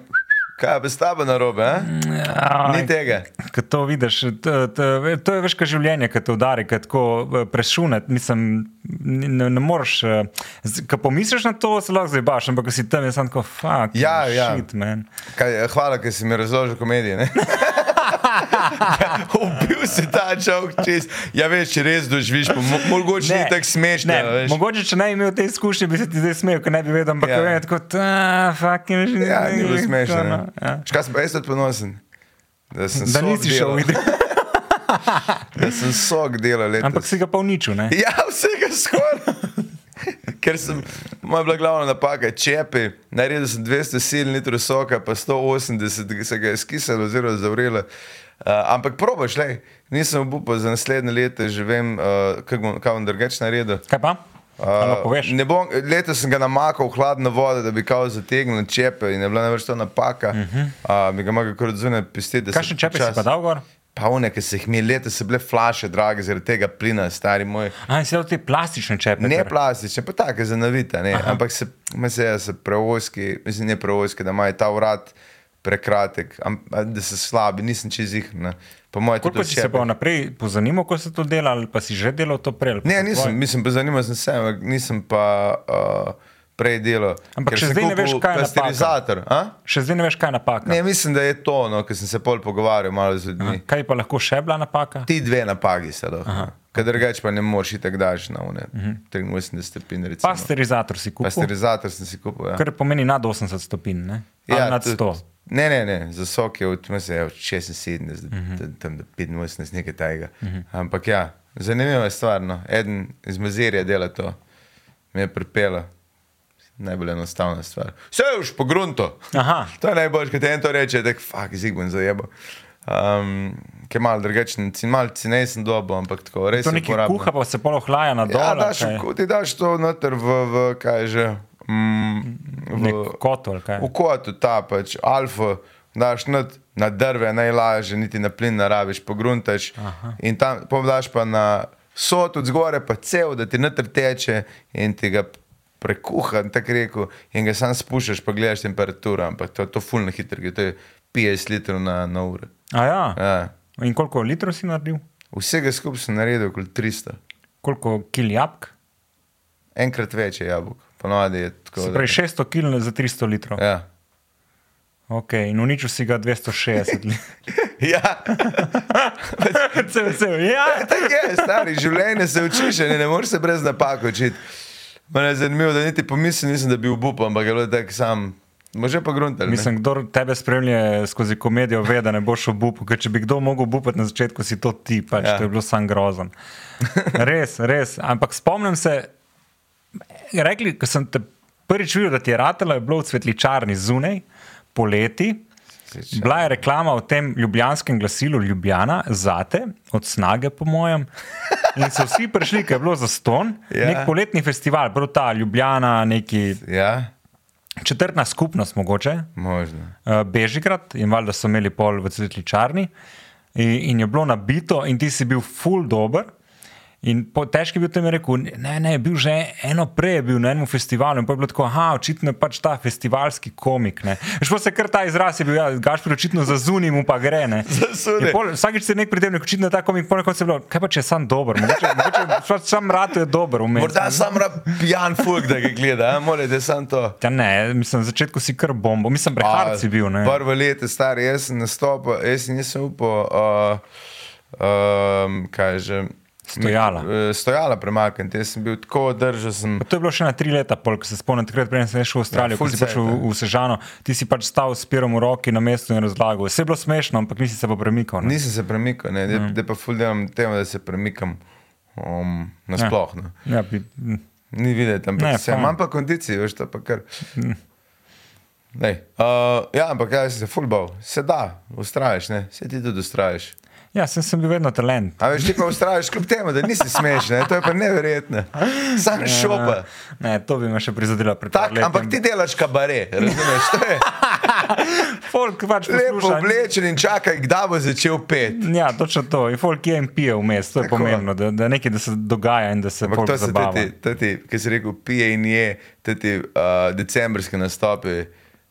Speaker 1: kaj pa s tabo narobe, a?
Speaker 2: Ja,
Speaker 1: ni tega.
Speaker 2: Ko to vidiš, to, to, to je veš, kaj življenje, ki te udari, ki tako eh, prešune. Mislim, ni- ne, ne moreš. eh, z- Ko pomisliš na to, se lahko zabaš, ampak ko si tam, je samo tako, fuck.
Speaker 1: Ja, ja.
Speaker 2: Shit, man.
Speaker 1: Kaj, eh, hvala, ker si mi razložil komedije. ne? Ubil si ta čovk čez. Ja, veš, če res doživiš, pa mo- mogoče ni tako smešno.
Speaker 2: ne,
Speaker 1: veš.
Speaker 2: mogoče, če ne bi imel te izkušnje, bi se ti zdaj smejal, ker ne bi vedel, ampak
Speaker 1: Ja.
Speaker 2: ja. vem, tako, ta, fucking že
Speaker 1: Ja, ni bilo smešno.
Speaker 2: no,
Speaker 1: ne.
Speaker 2: ja.
Speaker 1: Škoda, sem pa jaz tudi ponosen. Da, sem
Speaker 2: Da
Speaker 1: sok
Speaker 2: nisi šel
Speaker 1: delal-
Speaker 2: videti,
Speaker 1: Da sem sok delal letos.
Speaker 2: ampak si ga pa uničil. ne?
Speaker 1: Ja, vsega skoraj. Ker sem, moja je bila glavna napaka, čepi, naredil sem 200 sil litrov soka, pa 180 se ga je skisalo oziroma zavrelo. Uh, ampak probaš, le, nisem upal za naslednje leto, že vem, uh, kaj bom, kaj bom drugače naredil.
Speaker 2: Kaj pa? Uh, poveš?
Speaker 1: ne bom, leta sem ga namakal v hladno vodo, da bi kao zategnil čepe in je bila največ to napaka. Uh -huh. uh, mi ga mogo kar odzune pistiti.
Speaker 2: Kakšen čepec Mhm. si pa dal gor?
Speaker 1: Pa one, ki se jih mi leta so bile flaše, drage, zaradi tega plina, stari moj.
Speaker 2: Aj, si dal te plastične čepe.
Speaker 1: Ne
Speaker 2: kar-
Speaker 1: plastične, pa take zanavite, ne. ampak se, ma se, se prevoski, mislim, ne prevoski, da imajo ta urad prekratek, am, a da so slabi, nisem čez jih. ne. Po mojem,
Speaker 2: Koliko si se pa naprej pozanimal, ko si to delal, ali pa si že delal to prej? ali pa
Speaker 1: Ne,
Speaker 2: so tvoji?
Speaker 1: nisem, mislim, pa zanima sem se, ampak nisem pa uh, prej delal.
Speaker 2: Ampak
Speaker 1: Ker
Speaker 2: še
Speaker 1: sem
Speaker 2: zdaj ne veš,
Speaker 1: kupil
Speaker 2: kaj je napaka.
Speaker 1: pasterizator. a?
Speaker 2: Še zdaj ne veš, kaj je napaka.
Speaker 1: Ne, mislim, da je to, no, ker sem se pol pogovarjal malo z ljudmi.
Speaker 2: Kaj je pa lahko še bila napaka?
Speaker 1: Ti dve napagi sta lahko. Kaj drugače pa ne moreš itak daš na une 83 stopinj. recimo.
Speaker 2: Mhm. Pasterizator si kupil, Pasteriz
Speaker 1: Pasterizator sem si kupil. Ja.
Speaker 2: kar pomeni nad 80 stopinj, ne?
Speaker 1: Ja,
Speaker 2: Ja, nad
Speaker 1: tudi-
Speaker 2: 100.
Speaker 1: Ne, ne, ne, za sok je od, mislim, je od 76 do,
Speaker 2: Mhm.
Speaker 1: do- tam do 85, nekaj tajega. Ampak ja, zanimiva je stvar. No. Eden iz Mazirja dela to, me je pripelo. Najbolj enostavna stvar. Vse je už pogrunto.
Speaker 2: Aha.
Speaker 1: To je najbolj, kot en to reče, da je fuk, zigmen zajebo. Um, Ker je malo drugačen, cen- malo cenejšen dobo, ampak tako res.
Speaker 2: To nekaj
Speaker 1: uporabno.
Speaker 2: kuha, pa se pol ohlaja na dol.
Speaker 1: Ja,
Speaker 2: ali
Speaker 1: daš,
Speaker 2: kaj?
Speaker 1: v- ti daš to noter v, v kaj je že. Mm, v,
Speaker 2: Nek kotel, ali kaj?
Speaker 1: v kotu, ta pač alfa, daš not, na drve, najlažje, niti na plin naraviš, pogruntaš. In tam pomdaš pa na sod od zgore, pa cel, da ti noter teče in ti ga prekuha, tako rekel, in ga sam spuščaš, pa gledaš temperaturo, ampak to, to fulno hitro, gre, to je 50 litrov na, na uro.
Speaker 2: A ja.
Speaker 1: Ja.
Speaker 2: In koliko litrov si naredil?
Speaker 1: Vsega skupaj sem naredil okoli 300.
Speaker 2: Koliko kil jabk?
Speaker 1: Enkrat več je jabolk, ponovadi je tako.
Speaker 2: Se
Speaker 1: da-
Speaker 2: pravi 600 kil za 300 litrov.
Speaker 1: Ja.
Speaker 2: Okay, in uničil si ga 260 litrov.
Speaker 1: Ja,
Speaker 2: Vse, vse, ja.
Speaker 1: tako je, stari, življenje se učiš, ne, ne moreš se brez napak učiti. Mene je zanimivo, da niti pomislil nisem, da bi obupal, ampak je bilo tako sam. Može pa gruntali. ne?
Speaker 2: Mislim, kdo tebe spremlja skozi komedijo, ve, da ne boš obup. Ker če bi kdo mogel obupati na začetku, si to ti, pač
Speaker 1: Ja.
Speaker 2: ja. to je bilo sam grozen. Res, res. Ampak spomnim se, rekli, ko sem te prvič videl, da ti je ratelo, je bilo v cvetličarni zunaj, poleti.
Speaker 1: Cvetličarni.
Speaker 2: Bila je reklama v tem ljubljanskem glasilu Ljubljana, zate, od snage, po mojem. In so vsi prišli, ker je bilo za ston,
Speaker 1: Ja.
Speaker 2: ja. nek poletni festival, prav ta Ljubljana, neki
Speaker 1: Ja,
Speaker 2: četrtna skupnost mogoče.
Speaker 1: možno.
Speaker 2: Uh, Bežigrad in valjda so imeli pol v cvetličarni in, in je bilo nabito, in ti si bil full dober. In po, težki je bil, da mi je rekel, ne, ne, je bil že eno prej, je bil na enem festivalu in pa je bilo tako, aha, očitno je pač ta festivalski komik. Šlo se kar ta izraz, je bil, ja, gaš pri očitno zazunim, mu pa gre. ne.
Speaker 1: Zasune.
Speaker 2: In pol- Vsakič se je nek pridevnik, očitno je ta komik, polno kot se je bilo, kaj pa če je sam dober, mogoče, mogoče pač sam ratu je dober, umem.
Speaker 1: Morda sam rab pijan fuk, da ga gleda, a? morate sam to.
Speaker 2: Ja, ne, mislim, na začetku si kar bombo, mislim, prehard si bil. Ne.
Speaker 1: Prvo leto, star, jaz sem nastopil, jaz nisem upal, uh, um, kaj je že.
Speaker 2: Stojala.
Speaker 1: Eh, Stojala premakniti, jaz sem bil tako, držal sem.
Speaker 2: To je bilo še na tri leta, pol, ko se spomnim, takrat, preden sem šel v
Speaker 1: Ja,
Speaker 2: Avstralijo, ja,
Speaker 1: full
Speaker 2: ko si prišel
Speaker 1: cajt,
Speaker 2: v, v Sežano, ti si pač stal s pirom v roki na mestu in razlagal. Vse je bilo smešno, ampak nisi se pa Ja. premikal. Ne?
Speaker 1: Nisem se premikal, ne, da mm. pa fuldelam temu, da se premikam um, nasploh. Ja.
Speaker 2: Ja, bi, mm.
Speaker 1: Ni videti,
Speaker 2: Ne,
Speaker 1: ampak se
Speaker 2: fajn. Hm.
Speaker 1: imam pa kondicijo, veš, to pa kar. Lej, Uh, ja, ampak kaj se fulbal, se da, ustraješ, ne? se ti tudi ustraješ.
Speaker 2: ja sem, sem bil vedno talent.
Speaker 1: A veš, ti pa ustraješ kljub temu, da nisi smešen, ne? to je pa neverjetno. Sam
Speaker 2: Ja.
Speaker 1: šopa.
Speaker 2: Eh, Ne, to bi me še prizadelo pred
Speaker 1: Tak,
Speaker 2: par leti.
Speaker 1: ampak ti delaš kabare, razumeš? To je
Speaker 2: folk pač
Speaker 1: lepo
Speaker 2: posluša.
Speaker 1: oblečen in čakaj, kdaj bo začel pet.
Speaker 2: Ja, točno to. In folk je in pije vmes, to je
Speaker 1: Tako.
Speaker 2: Tako. pomembno, da, da nekaj da se dogaja in da se
Speaker 1: Ampak
Speaker 2: folk
Speaker 1: to so te,
Speaker 2: zabava.
Speaker 1: te, te, te ki si rekel, pije in je, te, te uh, decembrske nastope,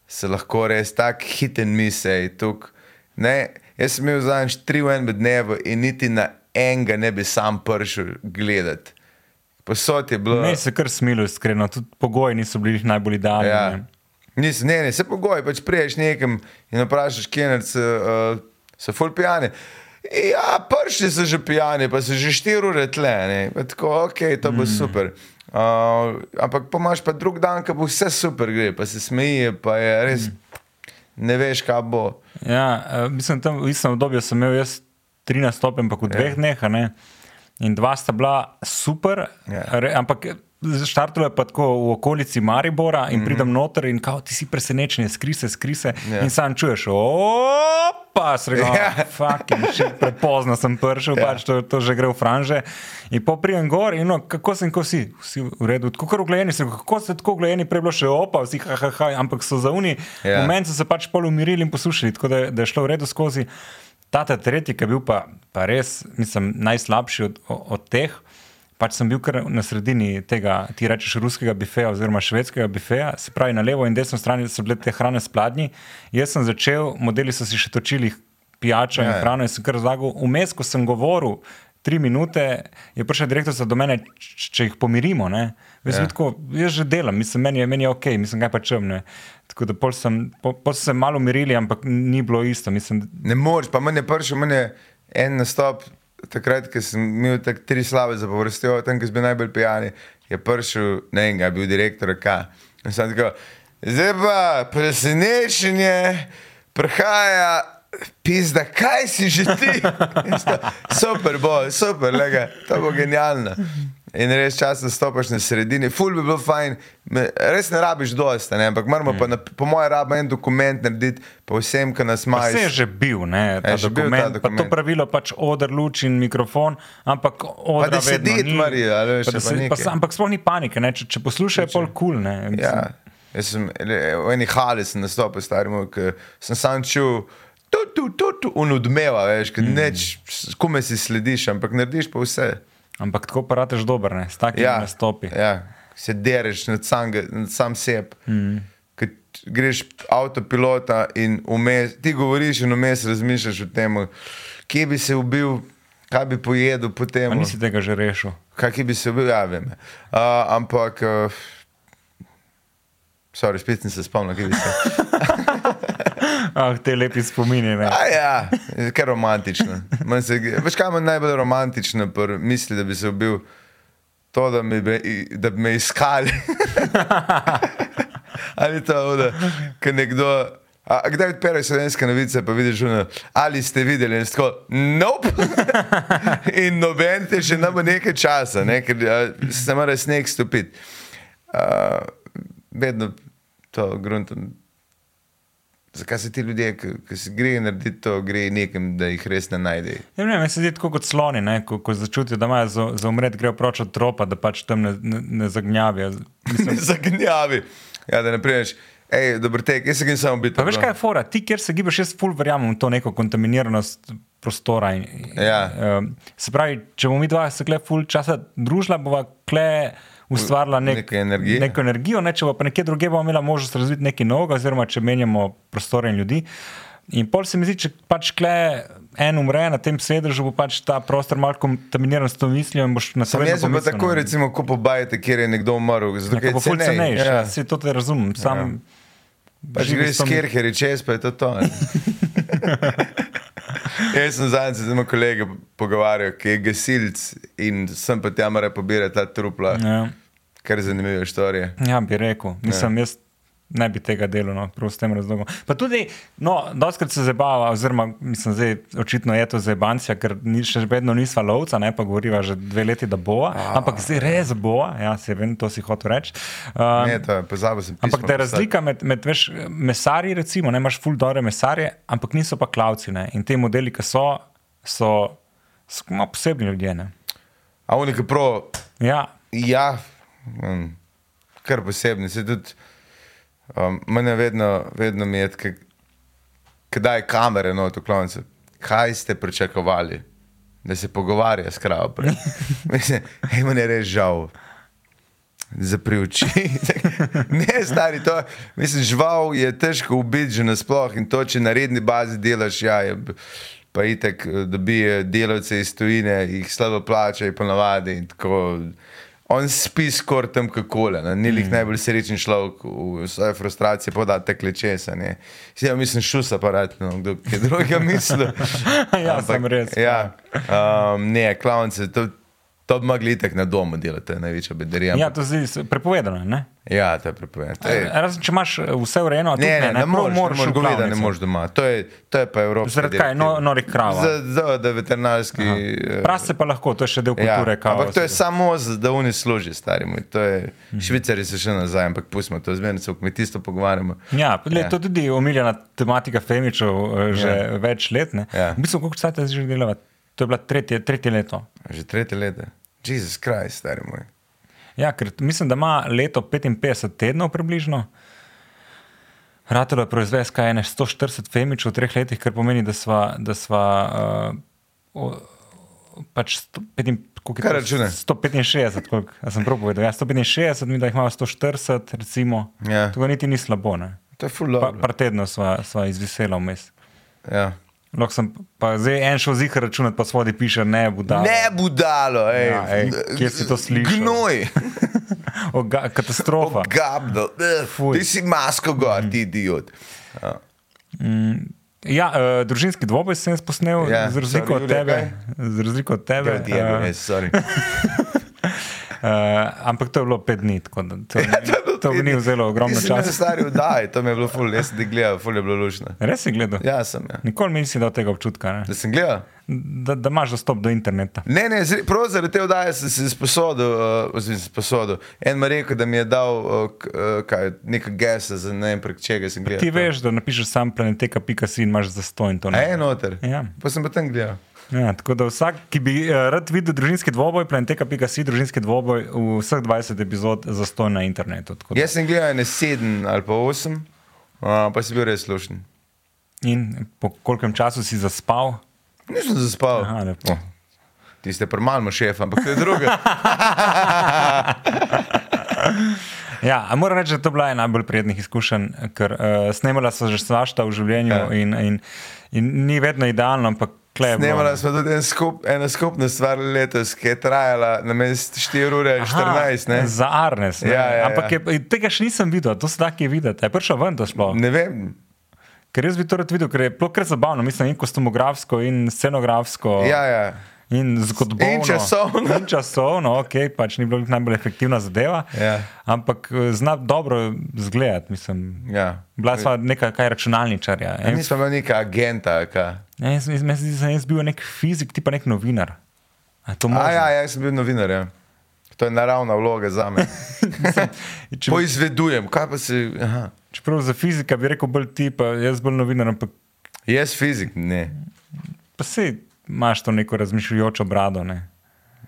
Speaker 1: se lahko res tako hiten misel. Jaz sem imel zadnjič tri v enem dnevu in niti na enega ne bi sam prišel gledati. Posod je bilo.
Speaker 2: Meni se kar smilo, iskreno, tudi pogoji niso bili najbolj idealni.
Speaker 1: Ja.
Speaker 2: ne.
Speaker 1: Nis, ne, ne, se pogoji, pač priješ nekam in vprašaš, kje uh, so ful pijani. Ja, prši so že pijani, pa so že štiri ure tleni. Tako, ok, to bo mm. super. Uh, ampak pomaš pa drug dan, ko bo vse super gre, pa se smeji, pa je res ne veš, kaj bo.
Speaker 2: Ja, eh, mislim, tam v istem obdobju sem imel jaz tri nastope, ampak v
Speaker 1: Ja.
Speaker 2: dveh dneh. a ne. In dva sta bila super,
Speaker 1: Ja.
Speaker 2: re, ampak eh, štartuje pa tako v okolici Maribora in mm -hmm. pridem noter in kao ti si presenečen, skrise, skrise.
Speaker 1: Mhm. Ja.
Speaker 2: Yeah. In sam čuješ, opa, srega,
Speaker 1: Ja.
Speaker 2: yeah. fucking, še prepozno sem prišel, yeah. pač to, to že gre v franže. In po prijem gor in no, kako sem, ko si, vsi v redu, tako kar uglejeni, sem, kako ste tako uglejeni, prej je bilo še opa, vsi ha, ha, ha, ampak so zauni.
Speaker 1: Ja.
Speaker 2: Yeah. Moment so se pač pol umirili in poslušali, tako da, je- da je šlo v redu skozi. Ta ta tretji, ki je bil pa, pa res, mislim, najslabši od, o- od teh. Pač sem bil kar na sredini tega, ti rečeš, ruskega bifeja oziroma švedskega bifeja, se pravi na levo in desno stran so bile te hrane spladnji. Jaz sem začel, modeli so si še točili pijačo
Speaker 1: Ja,
Speaker 2: in
Speaker 1: ja.
Speaker 2: hrano in sem kar razlagal. Vmes, ko sem govoril tri minute, je prišla direktorica do mene, č- če jih pomirimo. Ne? Jaz,
Speaker 1: Ja.
Speaker 2: ja. tako, jaz že delam, mislim, meni, je- meni je ok, mislim, kaj pa čemne. Tako da pol sem, po, pol so se malo umirili, ampak ni bilo isto. Mislim,
Speaker 1: Ne moreš, pa meni je prišel meni je en nastop, takrat, ko sem imel tako tri slave za povrstjo, tam, ko sem bil najbolj pijani, je prišel, ne vem, ga je bil direktor K. In sem tako, zdaj pa presenečenje, prihaja. Pizda, kaj si že ti? In sta, Super, bo, super, lega, to bo genialno. In res časno stopiš na sredini, ful bi bilo fajn, me- res ne rabiš dosta, ne? ampak moramo
Speaker 2: Mm.
Speaker 1: pa, na, po mojem, rabi en dokument narediti, pa vsem, ki nas
Speaker 2: Pa
Speaker 1: imajo.
Speaker 2: Vse je že bil, ne, ta,
Speaker 1: je e, že bil ta
Speaker 2: dokument, bil ta dokument. Pa
Speaker 1: dokument.
Speaker 2: to pravilo pač odr, luč in mikrofon, ampak odr
Speaker 1: da sedi tmari, a veš, ali pa nekaj.
Speaker 2: Ampak sploh ni panike, ne, če, če poslušajo, je pol kul. Cool,
Speaker 1: Ja, jaz sem le- v eni hali sem nastopil, staremu, ki sem sam čutil. Tu, tu, tu, tu, un odmeva, veš, mm. neč, kume si slediš, ampak narediš pa vse.
Speaker 2: ampak tako parateš dober, ne, s takimi ja. nastopi.
Speaker 1: Ja, se dereš nad sam, nad sam sebe. Mm. Greš avtopilota in vmes, ti govoriš in vmes razmišljaš o tem, kje bi se ubil, kaj bi pojedel potem.
Speaker 2: Pa nisi tega že rešil.
Speaker 1: Kaj bi se bil, ja, vem. Uh, ampak, uh, sorry, spet sem se spomnil, kaj bi se.
Speaker 2: Ah, te lepi spomini. Ne.
Speaker 1: A ja, ker romantično. Manj Se, veš, kaj me najbolj romantično pri misli, da bi se bil to, da, mi, be- da bi me iskali. Ali to, da ker nekdo. A, a kdaj odpereš slovenske novice, pa vidiš, ono, ali ste videli, in tako, nope. in noben te še nama nekaj časa, ne, ker a, se mora sneg stopiti. A, vedno to gruntom. Zakaj se ti ljudje, ki ki se grejo narediti to, grejo nekam, da jih res ne najdejo?
Speaker 2: Ja, ne, vem, meni se zdi tako kot sloni, ne, ko, ko začutijo, da imajo za, za umret, grejo proč od tropa, da pač tam ne, ne, ne zagnjavijo.
Speaker 1: Ne
Speaker 2: Mislim,
Speaker 1: zagnjavi. Ja, da ne priješ, hej, dobro tek, jaz se grem samo biti.
Speaker 2: Pa veš,
Speaker 1: no."
Speaker 2: kaj je fora? Ti, kjer se gibaš, jaz ful verjamem v to neko kontaminiranost prostora. In, in,
Speaker 1: Ja.
Speaker 2: um, se pravi, če bomo mi dva se kle ful časa družila, bova kle ustvarila nek,
Speaker 1: Neke energije.
Speaker 2: neko energijo, ne, če bo pa nekje drugje, bomo imela možnost razviti nekaj novega, oziroma če menjamo prostore in ljudi. In pol se mi zdi, če pač kle en umre na tem sedežu, bo pač ta prostor malo kontaminiran s to mislijo in boš na
Speaker 1: Sam
Speaker 2: svojem
Speaker 1: jaz sem pa tako, recimo, ko pobajate, kjer je nekdo umrl, zato ker
Speaker 2: Nekako
Speaker 1: je
Speaker 2: bo ful
Speaker 1: cenej.
Speaker 2: cenejši,
Speaker 1: Ja.
Speaker 2: ja. se to te razumem. Sam,
Speaker 1: Ja.
Speaker 2: ja.
Speaker 1: Pa že greš s kerheri čez, pa je to to. ne. Jaz sem zadnjič z enim kolegom pogovarjal, ki je gasilc in sem pa tam mora pobirati ta trupla,
Speaker 2: Ja.
Speaker 1: kar je zanimiva štorija.
Speaker 2: Ja, bi rekel. Mislim, jaz ne bi tega delal, no, prav s tem razlogom. Pa tudi, no, doskrat se zabava, oziroma, mislim, zdaj očitno je to zabancija, ker ni, še vedno nisva lovca, ne pa govoriva že dve leti, da bova, ampak zdaj res bova, ja, se vem, to si hotel reči. Um,
Speaker 1: Ne, to je, pozabil sem. pismo
Speaker 2: Ampak da
Speaker 1: poslati.
Speaker 2: je razlika med, med veš, mesarji, recimo, ne imaš full dobre mesarje, ampak niso pa klavci. Ne? In ti modeli, ki so, so, so malo posebni ljudje. Ne?
Speaker 1: A unik je pro,
Speaker 2: Ja,
Speaker 1: ja, mm, kar posebni. Se tudi, um, mene vedno, vedno mi je, tako, kdaj kamere no, to klonce. Kaj ste pričakovali, da se pogovarja s kravo? prej? Mislim, hej, meni je res žal. Zapri oči. ne, stari, to, mislim, žival je težko ubiti že nasploh in to, če na redni bazi delaš, ja, je, b- pa itek eh, dobijo delavce iz tujine, jih slabo plačajo, ponavadi. in tako. On spi skoraj tam kako le, ni lih mm. najbolj srečen človek, v svoje frustracije poda tekle česa. ne. Zdaj, ja, mislim, šus aparat, no, kdo je drugega mislil.
Speaker 2: ja sem res.
Speaker 1: Ja, um, ne, klavnice, to, to bi mogli itek na domu delati, to je največja bedarija.
Speaker 2: Ja, to zdaj je prepovedano. Ne?
Speaker 1: Ja, to je prepovedano. To je-
Speaker 2: Eh, Razen, če imaš vse urejeno, a tudi
Speaker 1: Ne, ne, ne, ne
Speaker 2: prav
Speaker 1: moreš, ne moreš
Speaker 2: v
Speaker 1: goveda, ne
Speaker 2: klavnico.
Speaker 1: moreš doma. To je, to je pa evropska.
Speaker 2: Zaradi kaj?
Speaker 1: direktiva.
Speaker 2: No- norih krava.
Speaker 1: Za- za- Da veterinarski. eh,
Speaker 2: Prase pa lahko, to je še del
Speaker 1: Ja,
Speaker 2: kulture. kao,
Speaker 1: ampak to je
Speaker 2: se-
Speaker 1: samo, z- da oni služi, stari moj. To je-
Speaker 2: Mhm.
Speaker 1: Švicari so še nazaj, ampak pustimo to, zmerno se v kmetijstvu pogovarjamo.
Speaker 2: Ja, le,
Speaker 1: Ja.
Speaker 2: ja. To je tudi omiljena tematika Femičev eh, že ja. več let.
Speaker 1: Ja.
Speaker 2: Ja. V bistvu, koliko časa že delava? To je bilo tretje, tretje leto.
Speaker 1: Že tretje leto. Jezus Krist, stari moj.
Speaker 2: Ja, ker mislim, da ima leto 55 tednov približno. Ratelo je proizvest kaj ene 140 femičev v treh letih, kar pomeni, da sva, da sva uh, o, pač 105, koliko je
Speaker 1: Kaj
Speaker 2: to?
Speaker 1: računaj?
Speaker 2: 165, koliko a sem prav povedal. Ja, 165, mi da jih imamo 140, recimo.
Speaker 1: Ja.
Speaker 2: To niti ni slabo. Ne?
Speaker 1: To je ful
Speaker 2: Pa,
Speaker 1: dobro.
Speaker 2: par tednov sva, sva izvisela vmes.
Speaker 1: Ja.
Speaker 2: Lahko sem pa zdaj en šel zihar računati, pa svodi piše, ne bo da.
Speaker 1: Ne budalo, ej.
Speaker 2: Ja, ej, kje si to slišal?
Speaker 1: Gnoj,
Speaker 2: Oga, katastrofa.
Speaker 1: gabdo, eh,
Speaker 2: Fuj. Mhm.
Speaker 1: ti si masko gor, ti idiot. Ja.
Speaker 2: Ja, uh, družinski dvoboj sem jaz posnel,
Speaker 1: Ja,
Speaker 2: ja, z razliko
Speaker 1: sorry,
Speaker 2: od
Speaker 1: Julija,
Speaker 2: tebe. Z razliko od tebe eh,
Speaker 1: Ja, Diego, res, sorry.
Speaker 2: uh, ampak to je bilo pet dni, tako da to, ja,
Speaker 1: je bilo
Speaker 2: to mi
Speaker 1: pet
Speaker 2: ni
Speaker 1: dni.
Speaker 2: vzelo ogromno
Speaker 1: Ti si mene
Speaker 2: časa.
Speaker 1: stari vdaj, to mi je bilo ful, jaz sem ti gledal, ful je bilo lušno.
Speaker 2: Res si gledal?
Speaker 1: Ja, sem. Ja.
Speaker 2: Nikoli mi nisi dal tega občutka, ne?
Speaker 1: Da sem gledal.
Speaker 2: da, da imaš dostop do interneta.
Speaker 1: Ne, ne, zre- prav zaradi te vdaje sem se sposodil, uh, oziroma sposodil. En mi je rekel, da mi je dal uh, k- uh, kaj, nekaj gesa, za ne vem prek čega sem gledal.
Speaker 2: Ti veš, da napišeš sam planeteka.si in imaš zastoj in to
Speaker 1: A
Speaker 2: ne.
Speaker 1: je noter.
Speaker 2: Ja.
Speaker 1: Pa sem pa tam gledal.
Speaker 2: Ja, tako da vsak, ki bi uh, rad videl družinski dvoboj, planeteka.si, družinski dvoboj, vseh 20 epizod zastoj na internetu. tako da-
Speaker 1: Jaz sem gledal ne sedem ali pa osem, uh, pa si bil res slušen.
Speaker 2: In po kolkem času si zaspal?
Speaker 1: Nisem zaspal.
Speaker 2: Aha, lepo.
Speaker 1: Oh, Ti ste premalno šef, ampak to je druga.
Speaker 2: Ja, a moram reči, da je to bila ena najbolj prijetnih izkušenj, ker uh, snemala so že svašta v življenju
Speaker 1: Ja.
Speaker 2: ja. in, in, in ni vedno idealno, ampak kleje.
Speaker 1: Snemala smo tudi en skup, ena skupna stvar letos, ki je trajala na mestu 4 ure 14. Ne?
Speaker 2: Za Arnes. ne.
Speaker 1: Ja, ja, ja.
Speaker 2: Ampak je, tega še nisem videl, to se da kje videti. A Je prišel ven, to šlo.
Speaker 1: ne vem.
Speaker 2: Ker jaz bi to rad videl, ker je bilo kar zabavno, mislim, in kostumografsko, in scenografsko.
Speaker 1: Ja, ja.
Speaker 2: In zgodbo.
Speaker 1: In časovno.
Speaker 2: In časovno, ok, pač ni bilo glih najbolj efektivna zadeva.
Speaker 1: Ja.
Speaker 2: Ampak eh, zna dobro zgledati, mislim.
Speaker 1: Ja.
Speaker 2: Bila sva neka kaj računalničarja. En,
Speaker 1: Nismo imeli neka agenta. ali Kaj.
Speaker 2: en, jaz, jaz, jaz, jaz, jaz bil nek fizik, ti pa nek novinar. A je
Speaker 1: A,
Speaker 2: to možno?
Speaker 1: ja, jaz sem bil novinar. Ja. To je naravna vloga za me.
Speaker 2: Če,
Speaker 1: Poizvedujem, kaj pa si. Aha.
Speaker 2: čeprav za fizika bi rekel bolj ti, pa jaz bolj novinar, ampak
Speaker 1: Jaz fizik, ne.
Speaker 2: pa si imaš to neko razmišljajočo brado. Ne?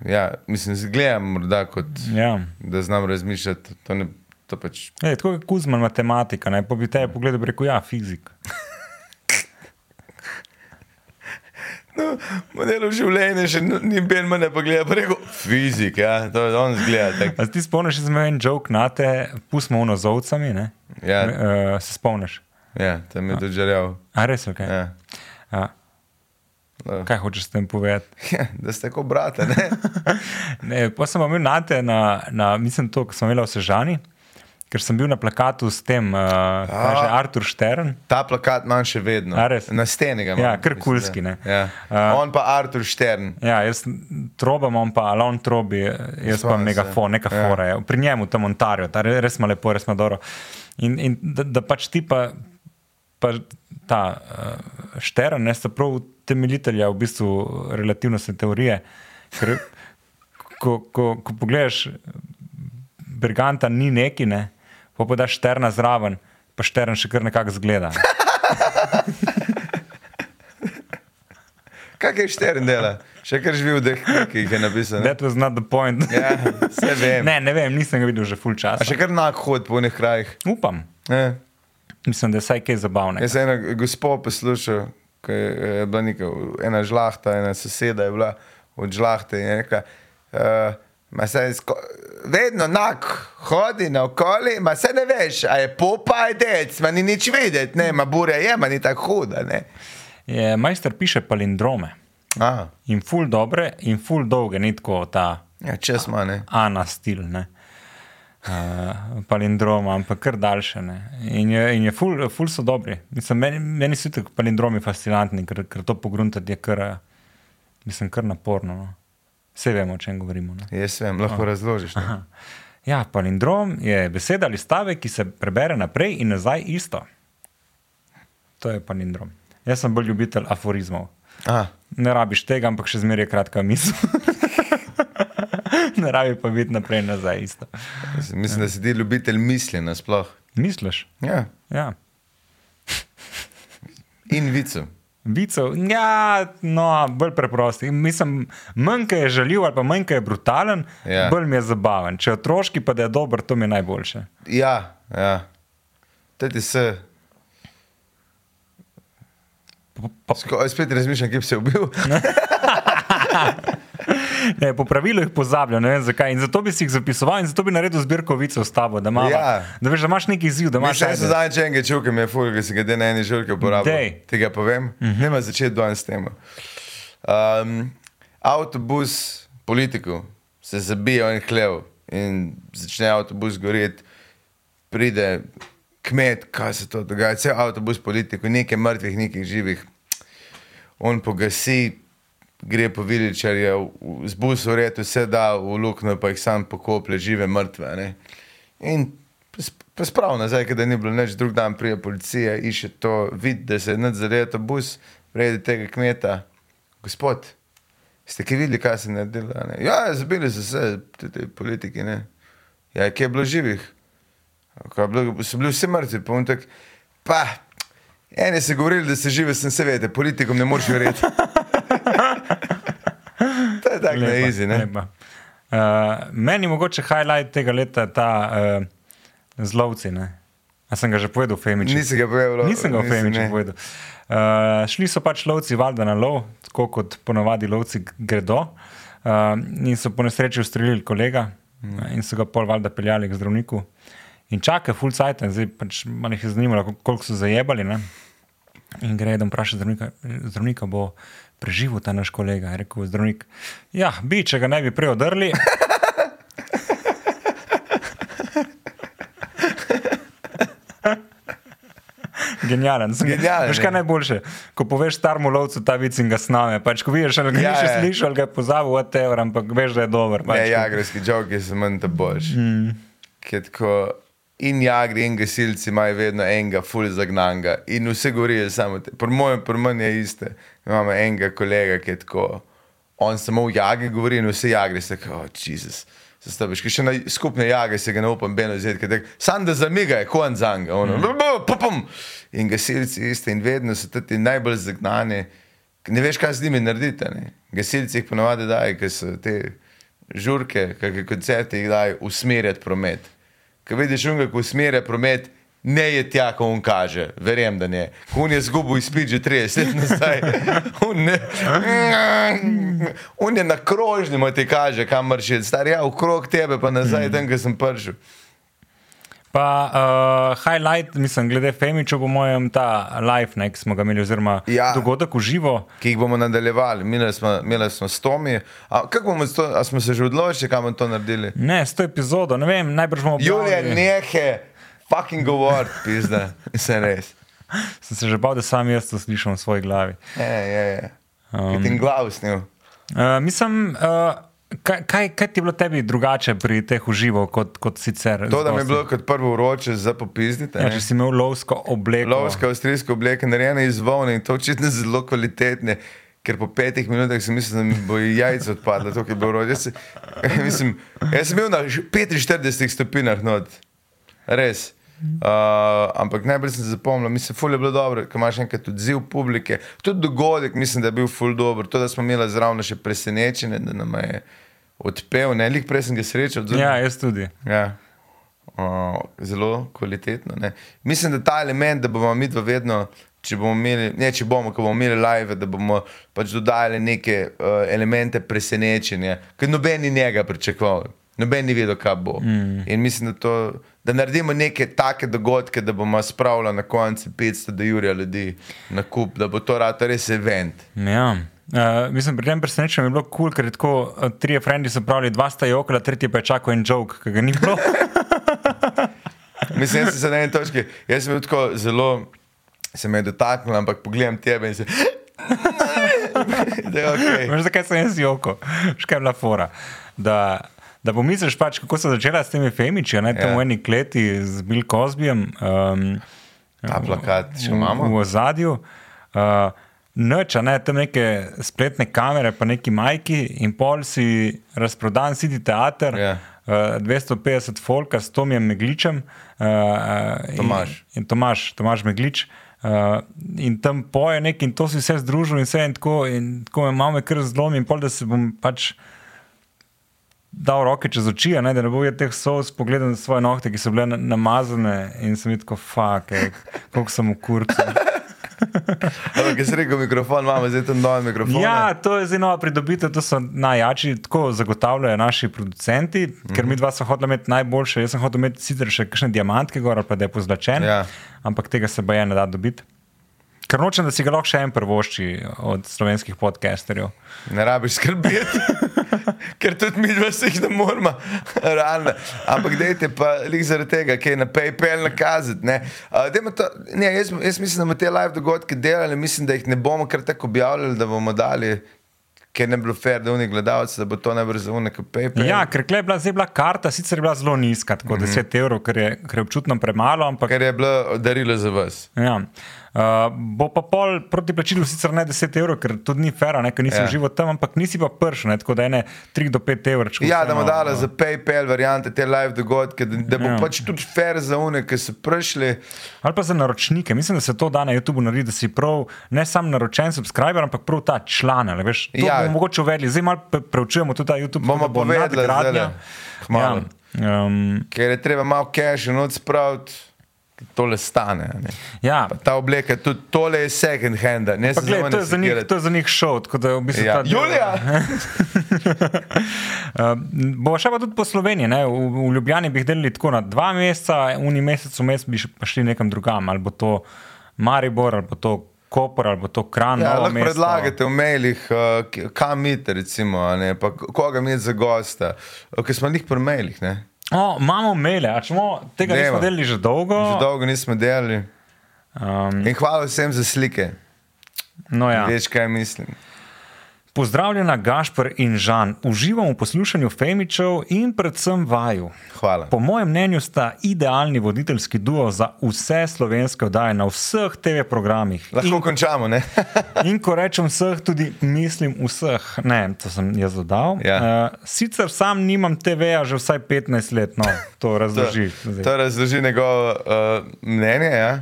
Speaker 1: Ja, mislim, zgledam morda kot,
Speaker 2: Ja.
Speaker 1: da znam razmišljati. To ne, to pač.
Speaker 2: Je, tako je Kuzman matematika, ne? pa bi te pogledal in rekel, ja, fizik.
Speaker 1: No, modelu življenja še n- ni bil mene, pa gleda preko. Fizik, ja, to je on zgleda. Tak.
Speaker 2: A se ti spomniš, da smo en jok na te, pustimo ono z ovcami, ne?
Speaker 1: Ja.
Speaker 2: Uh, se spomniš.
Speaker 1: Ja, tam je dožarjal.
Speaker 2: A res, ok. Ja.
Speaker 1: Ja.
Speaker 2: A,
Speaker 1: Ja.
Speaker 2: kaj hočeš s tem povedati?
Speaker 1: Ja, da ste kot brate, ne?
Speaker 2: Ne, pa sem pa bil na te, na, na, mislim to, ko sem imel v Sežani, ker sem bil na plakatu s tem, uh, kaže Artur Štern.
Speaker 1: Ta plakat imam še vedno.
Speaker 2: A res?
Speaker 1: Na steni ga imam.
Speaker 2: Ja, kar
Speaker 1: mislim,
Speaker 2: kulski,
Speaker 1: da.
Speaker 2: ne.
Speaker 1: Ja.
Speaker 2: A-
Speaker 1: Uh, on pa Artur Štern.
Speaker 2: Ja, jaz trobam, on pa Alon trobi, jaz pa
Speaker 1: Spomnim se.
Speaker 2: megafon, neka
Speaker 1: Ja.
Speaker 2: fora je. Pri njemu tam Ontario, ta re- res ima lepo, res ima dobro. In, in da, da pač ti pa, pa ta uh, šteren, ne sta prav temeljitelja v bistvu relativnostne teorije. Ker, ko, ko, ko pogledaš, Briganta ni neki, ne, pa podaš šterna zraven, pa štern še kar nekako zgleda.
Speaker 1: Kaj je Štern dela? Še kar živi v teh, ki jih je napisal. ne?
Speaker 2: That was not the point.
Speaker 1: Ja, vse vem.
Speaker 2: ne, ne vem, nisem ga videl že full
Speaker 1: A
Speaker 2: časa.
Speaker 1: še kar nak hod po nekih krajih.
Speaker 2: Upam.
Speaker 1: Ne?
Speaker 2: Mislim, da je vsaj kaj zabavnega.
Speaker 1: Jaz sem eno gospo poslušal, ki je je bila neka, ena žlahta, ena soseda je bila od žlahte in je rekla, uh, ma se sko, vedno enak hodi naokoli, ma se ne veš, a je popa, je dec, ma ni nič vedeti, ne, ma burja je, ma ni tako huda. Ne.
Speaker 2: Je, majster piše palindrome.
Speaker 1: Aha,
Speaker 2: In ful dobre, in ful dolge, ni tako ta
Speaker 1: ja, čez ima, ne.
Speaker 2: ana stil. Ne? Uh, palindroma, ampak kar daljše. Ne. In je, in je ful, ful so dobri. Mislim, meni, meni so tako palindromi fascinantni, ker, ker to pogruntati je kar, eh, mislim, kar naporno. No. Vse vemo, o čem govorimo. Ne.
Speaker 1: Jaz vem, lahko razložiš. ne.
Speaker 2: Aha. Ja, palindrom je beseda ali stavek, ki se prebere naprej in nazaj isto. To je palindrom. Jaz sem bolj ljubitelj aforizmov.
Speaker 1: Aha,
Speaker 2: Ne rabiš tega, ampak še zmeraj je kratka misel. ne rabi pa biti naprej in nazaj isto.
Speaker 1: jaz mislim, da si ti ljubitelj misli nasploh.
Speaker 2: Misliš?
Speaker 1: Ja.
Speaker 2: Ja.
Speaker 1: In vicu.
Speaker 2: Vicov, ja, no, bolj preprosti. Mislim, manj ko je žaljiv ali pa manj ko je brutalen, ja.
Speaker 1: Ja.
Speaker 2: bolj mi je zabaven. Če je otroški, pa da je dober, to mi je najboljše.
Speaker 1: Ja, ja. Teti se.
Speaker 2: Pa, pa,
Speaker 1: Sko, spet razmišljam, kje bi se ubil.
Speaker 2: Ne, po pravilu jih pozabljam, ne vem zakaj. In zato bi si jih zapisoval in zato bi naredil zbirko vicev s tabo, da, mava, ja.
Speaker 1: Ja.
Speaker 2: da, veš, da imaš neki izziv, da imaš
Speaker 1: Še
Speaker 2: ajde.
Speaker 1: sem zadnjič enega čutil, ki mi je ful, ki si ga de na eni žurki uporabil.
Speaker 2: Dej.
Speaker 1: Ti ga povem, uh -huh. nema začeti danes s tem. Um, avtobus politikov se zabije in hlev in začne avtobus goreti, pride kmet, kaj se to dogaja, cel avtobus politikov, nekaj mrtvih, nekaj živih. On pogasi, gre po viličarju, v- z busom red, vse da v luknjo, pa jih sam pokoplje, žive mrtve. Ne? In sp- pa sprav nazaj, ker da ni bilo nič, drug dan prije policija in še to vidi, da se je nadzoril ta bus, vredi tega kmeta, gospod. Ste ki videli, kaj se je naredilo? a ne?" Ja, zabili so se te, te politiki. Ne? Ja, kje je bilo živih? Ko je bilo, so bili vsi mrtvi, pa on tak, pa. Eni so govorili, da se žive, sem se vedel, politikom ne moreš verjeti. to je tako na
Speaker 2: Lepa,
Speaker 1: izi, ne?
Speaker 2: lepa. Uh, meni je mogoče highlight tega leta ta uh, zlovci. Ne? A sem ga že povedal, Femiči?
Speaker 1: Nisi ga povedal,
Speaker 2: Nisem ga v
Speaker 1: nisi,
Speaker 2: Femiči
Speaker 1: ne.
Speaker 2: povedal. Uh, šli so pač lovci, valjda na lov, tako kot ponavadi lovci g- gredo. Uh, in so po nesreči ustrelili kolega mm. in so ga pol valjda peljali k zdravniku. In čaka, full cajt, zdaj pač malo jih je zanimalo, kol- koliko so zajebali. Ne? In gre eden vprašati zdravnika, zdravnika bo preživel ta naš kolega. Je rekel zdravnik, ja, bi, če ga ne bi prej odrli. Genijalen. Sem-
Speaker 1: Genialen, ja.
Speaker 2: Veš,
Speaker 1: ne.
Speaker 2: kaj je najboljše? Ko poveš staremu lovcu ta vic in ga sname, pač ko vidiš, ali ga
Speaker 1: Ja,
Speaker 2: ja, še
Speaker 1: ja.
Speaker 2: slišiš, ali ga je pozabil, whatever, ampak veš, da je dober. Pač.
Speaker 1: Ne, jagreski žog je samo en ta boljši. Mm. Tako, in jagri in gasilci imajo vedno enega, ful zagnanga in vse gorijo samo te. Pri mojem, pri meni je iste. Imamo enega kolega, ki je tako, on samo v jagri govori in vse jagri se kao, oh, Jezus. Zastaviš, ki še na skupne jage se ga ne upam, beno zjedke. Sam da zamiga je kon zanga, ono, mm. pum. In gasilci iste in vedno so ti najbolj zagnani, ne veš, kaj z njimi narediti. a ne. Gasilci jih ponovadi dajo, ker so te žurke, kakšne koncerte jih dajo, usmerjati promet. Ko vidiš unga, ko usmerja promet, ne je tja, ko on kaže, verjem, da ne. Ko on je zgubil izpit že 30 let nazaj, on, ne, on je na krožnjem, a ti kaže, kam mršiš, star ja, okrog tebe pa nazaj, tam, kjer sem pršil.
Speaker 2: Pa uh, highlight, mislim, glede Femiča, po mojem, ta live, ne, ki smo ga imeli, oziroma
Speaker 1: Ja.
Speaker 2: ja. dogodek v živo.
Speaker 1: Ki jih bomo nadaljevali, imeli smo, imeli smo s Tomi. A Kako bomo, s to- a smo se že odločili, kam bomo to naredili?
Speaker 2: Ne, s to epizodo, ne vem, najbrž bomo
Speaker 1: Julija,
Speaker 2: objavili.
Speaker 1: nehe, fucking govor, pizda, se res.
Speaker 2: Sem se že bal, da sam jaz to slišim v svoji glavi.
Speaker 1: Ja, ja, ja. Um, Ti glav snil.
Speaker 2: Uh, mislim, uh, kaj, kaj, kaj ti je bilo tebi drugače pri teh uživo kot, kot sicer?
Speaker 1: To, da mi je
Speaker 2: Z
Speaker 1: bilo kot prvo vroče za popiznite.
Speaker 2: gosti? Ja, če si imel lovsko obleko.
Speaker 1: Lovske avstrijske obleke, narejene iz volne in to očitno zelo kvalitetne. Ker po petih minutah sem mislil, da mi bo jajce odpadlo, to je bilo rodje. Jaz, se- mislim, jaz sem bil na š- 45 stopinjah not, res. Uh, ampak najbolj sem zapomnil, mislim, ful je bilo dobro, ker imaš enkrat odziv publike. Tudi dogodek mislim, da je bil ful dober. To, da smo imeli zraven še presenečenje, da nam je odpel, ne, lik prej sem ga srečal. tudi
Speaker 2: Ja, jaz tudi.
Speaker 1: Ja. Uh, zelo kvalitetno. Ne. Mislim, da ta element, da bomo mi dva vedno, če bomo imeli, ne, če bomo, ko bomo imeli live, da bomo pač dodajali neke uh, elemente presenečenja, ker noben ni njega pričakoval, noben ni vedel, kaj bo. Mm. In mislim, da, to, da naredimo neke take dogodke, da bomo spravili na koncu 500 do Jurija ljudi na kup, da bo to rad res event.
Speaker 2: Ja. Uh, mislim, pri tem presenečenju je bilo kul, cool, ker je tako eh, trije frendi so pravili, dva sta jokala, tretji pa je čakal en joke, ki ga ni bilo.
Speaker 1: Mislim, jaz sem se na eni točki, jaz sem bil tako zelo, se me je dotaknil, ampak pogledam tebe in se. da je ok.
Speaker 2: Veš, zakaj sem jaz joko? Škaj je bila fora. Da, da pomisliš, pač, kako so začela s temi femiči, ne tam
Speaker 1: Ja.
Speaker 2: v eni kleti z Bill Cosbyjem. Um,
Speaker 1: Ta plakat še
Speaker 2: v-
Speaker 1: imamo?
Speaker 2: V ozadju. Uh, Noč, a ne tam neke spletne kamere, pa neki majki in pol si razprodan, sedi teater,
Speaker 1: Ja.
Speaker 2: yeah. uh, 250 folka s Tomijem Megličem. Uh,
Speaker 1: Tomaž.
Speaker 2: In, in Tomaž, Tomaž Meglič. Uh, in tam poje nek in to si vse združil in vse in tako, in tako me malo me kar zlomi in pol, da se bom pač dal roke čez oči, a ne, da ne bo videl teh sous, pogledal na svoje nohte, ki so bile na, namazane in sem videl, fake, koliko sem v kurcu.
Speaker 1: Ampak, ker sem rekel, mikrofon imamo, zdaj tam nove mikrofone.
Speaker 2: Ja, to je zdaj nova pridobitev, to so najjači, tako zagotavljajo naši producenti, mm -hmm. ker mi dva smo hotela imeti najboljše. Jaz sem hotel imeti sicer še kakšne diamantke gor, ali pa da je pozlačen,
Speaker 1: Ja.
Speaker 2: ampak tega se baje ne da dobiti. Ker nočem, da si ga lahko še en prvošči od slovenskih podcasterjev.
Speaker 1: Ne rabiš skrbeti, ker tudi mi dva se jih ne moramo, realno. Ampak dejte pa lih zaradi tega, ki je na PayPal nakazati. Ne? A, dajmo to- ne, jaz, jaz mislim, da bomo te live dogodke delali, mislim, da jih ne bomo kar tako objavljali, da bomo dali. Ker ne bi bilo fair, da oni gledalci, da bo to najbrž za unek PayPal.
Speaker 2: Ja, ker tule je bila, zdaj je bila karta, sicer je bila zelo nizka, tako mm -hmm. 10 evrov, ker je, ker je občutno premalo, ampak
Speaker 1: Ker je bilo darilo za vas.
Speaker 2: Ja. Uh, bo pa pol proti plačilu sicer ne 10 evrov, ker tudi ni fera, ker nisi
Speaker 1: Ja.
Speaker 2: ja. živel tam, ampak nisi pa pršel, ne, tako da je 3 do 5 evrov. čko
Speaker 1: Ja, da bomo
Speaker 2: vseeno,
Speaker 1: dali
Speaker 2: uh,
Speaker 1: za PayPal variante, te live dogodke, da, da bo ja.
Speaker 2: Ja.
Speaker 1: pač tudi fair za one, ki so prišli.
Speaker 2: Ali pa za naročnike. Mislim, da se to da na YouTubu naredi, da si prav ne sam naročen subscriber, ampak prav ta član. ali Veš, to
Speaker 1: Ja.
Speaker 2: ja. bomo mogoče uvedli. Zdaj malo pre- preučujemo tudi ta YouTube.
Speaker 1: Bomo
Speaker 2: tako da bo
Speaker 1: povedali
Speaker 2: nadgradnja.
Speaker 1: zdajle, kmalu.
Speaker 2: Ja, um,
Speaker 1: ker je treba malo cache in odspraviti, tole stane. a ne.
Speaker 2: ja.
Speaker 1: Pa ta obleka, je tudi tole je second hand, ne
Speaker 2: Pa
Speaker 1: se
Speaker 2: gled, to, je za njih, to je za njih šov, tako da je v bistvu
Speaker 1: Ja.
Speaker 2: ta del-
Speaker 1: Julija,
Speaker 2: Uh, Bo šla pa tudi po Sloveniji, ne? v, v Ljubljani bi jih delili tako na dva meseca, uni mesec vmes bi še- pa šli nekam drugam, ali bo to Maribor, ali bo to Koper, ali bo to Kran.
Speaker 1: ja,
Speaker 2: Novo
Speaker 1: lahko
Speaker 2: mesto.
Speaker 1: predlagate v mailih, uh, k- kam iti, recimo, a ne, pa k- koga mi je za gosta, Uh, ker smo jih pri mailih. Ne?
Speaker 2: O, imamo mele, a čemo, tega
Speaker 1: Dajmo.
Speaker 2: nismo delili že dolgo.
Speaker 1: Že dolgo nismo delali.
Speaker 2: Uh, No. Um,
Speaker 1: In hvala vsem za slike.
Speaker 2: no
Speaker 1: Ja.
Speaker 2: ja.
Speaker 1: Veš, kaj mislim.
Speaker 2: Pozdravljena, Gašpr in Žan. Uživam v poslušanju Femičev in predvsem vaju.
Speaker 1: Hvala.
Speaker 2: Po mojem mnenju sta idealni voditeljski duo za vse slovenske oddaje na vseh TV programih.
Speaker 1: Lahko in... končamo, ne?
Speaker 2: In ko rečem vseh, tudi mislim vseh. Ne, to sem jaz dodal.
Speaker 1: Ja.
Speaker 2: Uh, sicer sam nimam TV-ja že vsaj 15 let, no, to razloži. zdaj.
Speaker 1: to razloži njegovo uh, mnenje. Ja?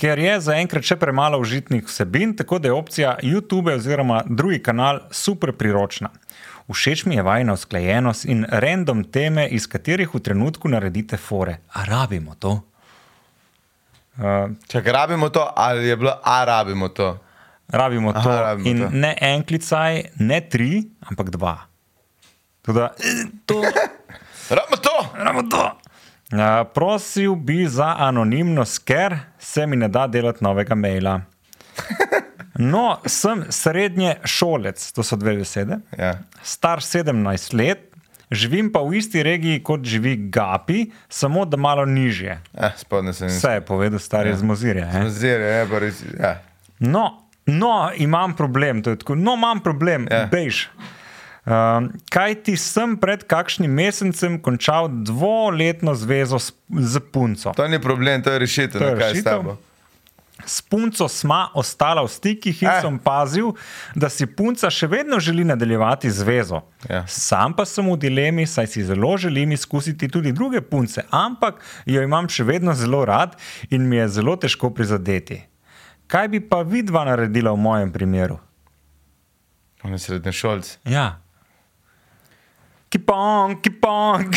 Speaker 2: Ker je zaenkrat še premalo užitnih vsebin, tako da je opcija YouTube oziroma drugi kanal super priročna. Všeč mi je vajna usklajenost in random teme, iz katerih v trenutku naredite fore. A rabimo to? Uh,
Speaker 1: Čakaj, rabimo to, ali je bilo, a rabimo to.
Speaker 2: rabimo to.
Speaker 1: Aha, rabimo
Speaker 2: in
Speaker 1: to.
Speaker 2: ne en klicaj, ne tri, ampak dva. Tako da, eh, to,
Speaker 1: Rabimo to!
Speaker 2: rabimo to. Uh, prosil bi za anonimnost, ker se mi ne da delati novega maila. No, sem srednje šolec, to so dve besede,
Speaker 1: Ja.
Speaker 2: star 17 let, živim pa v isti regiji kot živi Gapi, samo da malo nižje.
Speaker 1: Eh, Spodne sem
Speaker 2: Vse je povedal, star je z mozirja. eh.
Speaker 1: Zir, je, pa res. Ja.
Speaker 2: No, no, imam problem, to je tako, no, imam problem,
Speaker 1: Ja.
Speaker 2: yeah. bež. Um, kaj ti sem pred kakšnim mesecem končal dvoletno zvezo s, z punco?
Speaker 1: To ni problem, to je rešitev.
Speaker 2: To je
Speaker 1: no, kaj je s
Speaker 2: rešitev.
Speaker 1: tabo?
Speaker 2: S punco sva ostala v stikih in
Speaker 1: Eh.
Speaker 2: eh. sem pazil, da si punca še vedno želi nadaljevati zvezo.
Speaker 1: Ja.
Speaker 2: Sam pa sem v dilemi, saj si zelo želim izkusiti tudi druge punce, ampak jo imam še vedno zelo rad in mi je zelo težko prizadeti. Kaj bi pa vidva naredila v mojem primeru?
Speaker 1: On je srednješolc.
Speaker 2: Ja. Kipon, kipon.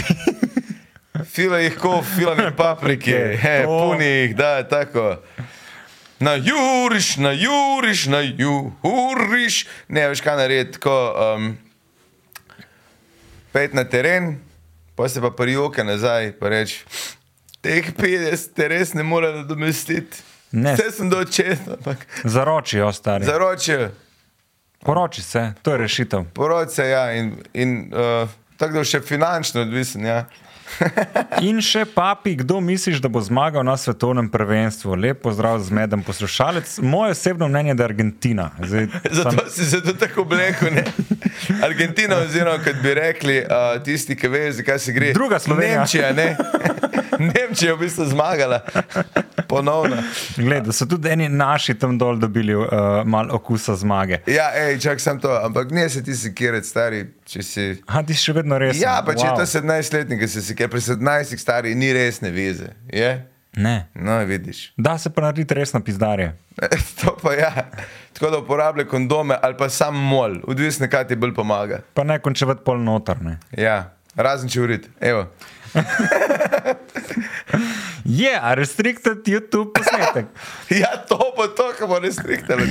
Speaker 1: Fila jih ko, filane paprike, he,
Speaker 2: To.
Speaker 1: puni jih, da, tako. Na juriš, na juriš, na juriš. Ne veš, kaj narediti, ko um, pet na teren, pa se pa prijoka nazaj, pa reč. Teh 50 te res ne more nadomestiti.
Speaker 2: Ne. Ja.
Speaker 1: Vse sem dočetno, ampak
Speaker 2: Zaročijo, stari.
Speaker 1: zaročijo.
Speaker 2: Poroči se, to je rešitev.
Speaker 1: Poroce, ja, in, in uh, tako da je še finančno odvisen. Ja.
Speaker 2: In še papi, kdo misliš, da bo zmagal na svetovnem prvenstvu? Lep pozdrav, zmeden poslušalec. Moje osebno mnenje je, da je Argentina. Zdaj, sam,
Speaker 1: Zato si se tudi tako oblekel. ne? Argentina, oziroma kot bi rekli uh, tisti, ki vejo, zakaj se gre.
Speaker 2: Druga Slovenija.
Speaker 1: Nemčija, ne? Nemčija je v bistvu zmagala, ponovno.
Speaker 2: gled, da so tudi eni naši tam dol dobili uh, malo okusa zmage.
Speaker 1: Ja, hej, čak sem to, ampak ne se ti sikirati, stari, če si.
Speaker 2: A ti si še vedno res?
Speaker 1: Ja, pa če wow. je to 17-letnik, ki se sikira, pri 17-ih stari ni resne vize. Je?
Speaker 2: Ne.
Speaker 1: No, vidiš.
Speaker 2: Da se pa narediti resno pizdarje.
Speaker 1: To pa ja. Tako da uporabljaj kondome ali pa sam mol, odvisno kaj ti bolj pomaga.
Speaker 2: Pa ne končevati pol notorne.
Speaker 1: Ja, razen če urit. Evo.
Speaker 2: Je, yeah, a restricted YouTube posnetek.
Speaker 1: Ja, to pa to, kar bo res rihtalo.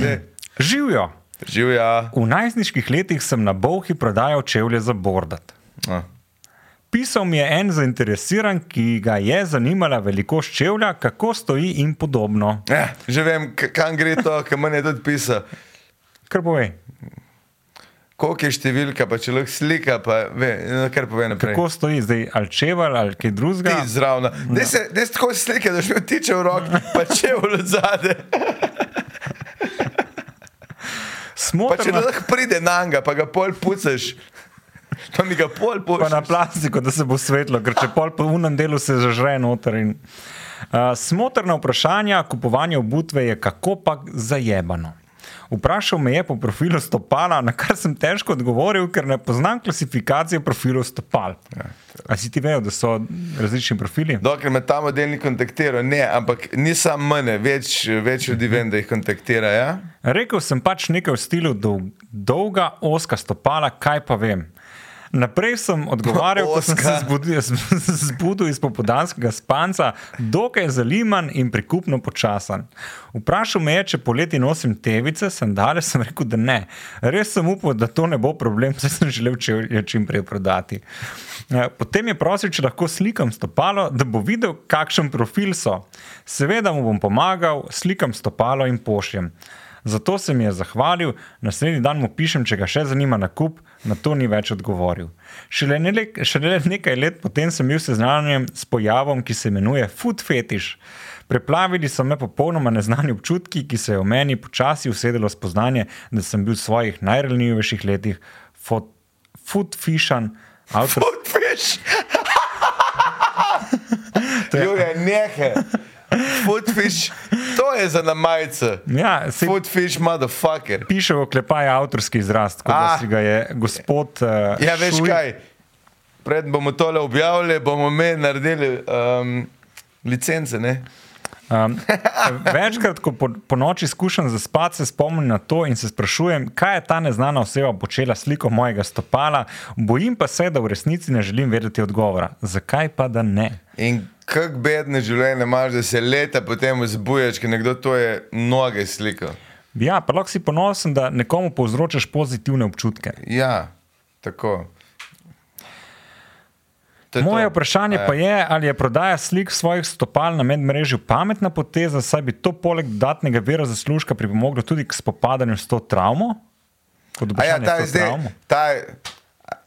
Speaker 2: Živijo.
Speaker 1: Živja.
Speaker 2: V najstniških letih sem na Bovhi prodajal čevlje za bordat.
Speaker 1: No.
Speaker 2: Pisal mi je en zainteresiran, ki ga je zanimala velikost čevlja, kako stoji in podobno.
Speaker 1: Ja, že vem, k- kam gre to, kar meni je tudi pisal.
Speaker 2: Kar boje,
Speaker 1: Koliko je številka, pa če lahko slika, pa ve, no, kar pove naprej.
Speaker 2: kako Ja. stoji zdaj, ali čevelj ali kaj drugega.
Speaker 1: Ti zraven. Dej se daj se tako slike, da še tiče v roki, pa če v zadnje. Pa če
Speaker 2: Smotrno
Speaker 1: lahko pride na njega, pa ga pol pucaš. Pa mi ga pol
Speaker 2: pa na
Speaker 1: pucaš.
Speaker 2: plastiko, da se bo svetlo, ker če pol po unem delu se zažre noter. In... Uh, smotrna vprašanja kupovanja obutve je kako pa zajebano. Vprašal me je po profilu stopala, na kar sem težko odgovoril, ker ne poznam klasifikacije profilov stopal. A si ti vejo, da so različni profili?
Speaker 1: Dokler me ta model ni kontaktiral, ne, ampak ni samo mene, več, več ljudi vem, da jih kontaktira. Ja?
Speaker 2: Rekel sem pač nekaj v stilu dolg, dolga, oska stopala, kaj pa vem. Naprej sem odgovarjal, ko sem se
Speaker 1: Ozka.
Speaker 2: zbudil, zbudil iz popodanskega spanca, dokaj zaliman in prikupno počasen. Vprašal me je, če poleti nosim tevice, sandale, sem rekel, da ne. Res sem upal, da to ne bo problem, saj sem želel čevlje čim prej prodati. Eh, Potem je prosil, če lahko slikam stopalo, da bo videl, kakšen profil so. Seveda mu bom pomagal, slikam stopalo in pošljem. Zato se mi je zahvalil, naslednji dan mu pišem, če ga še zanima nakup, na to ni več odgovoril. Šele, ne, šele nekaj let potem sem bil seznanjen s pojavom, ki se imenuje food fetish. Preplavili so me popolnoma neznani občutki, ki se je v meni počasi usedelo spoznanje, da sem bil v svojih najranljivejših letih futfišan, avtor
Speaker 1: Footfish! Jure, nehe. Footfish, to je za na majice.
Speaker 2: Ja, se
Speaker 1: Footfish, motherfucker.
Speaker 2: piše v oklepaju avtorski izraz, tako da
Speaker 1: Ah.
Speaker 2: si ga je gospod. Uh,
Speaker 1: Ja, veš kaj, pred bomo tole objavili, bomo mi naredili um, licence, ne?
Speaker 2: Um, večkrat, ko po, po noči skušam zaspati, se spomnim na to in se sprašujem, kaj je ta neznana oseba počela s sliko mojega stopala. Bojim pa se, da v resnici ne želim vedeti odgovora. Zakaj pa da ne?
Speaker 1: In kak bedne življenje imaš, da se leta potem zbujaš, ker nekdo to je noge slikal.
Speaker 2: Ja, pa lahko si ponosen, da nekomu povzročaš pozitivne občutke.
Speaker 1: Ja, tako. To je
Speaker 2: Moje
Speaker 1: to.
Speaker 2: vprašanje
Speaker 1: Ja.
Speaker 2: pa je, ali je prodaja slik svojih stopal na medmrežju pametna poteza, saj bi to poleg dodatnega vira zaslužka pripomoglo tudi k spopadanju s to travmo?
Speaker 1: A
Speaker 2: Kot
Speaker 1: ja,
Speaker 2: vprašanje
Speaker 1: ta
Speaker 2: s
Speaker 1: je
Speaker 2: to
Speaker 1: zdaj.
Speaker 2: travmo?
Speaker 1: Ta, je-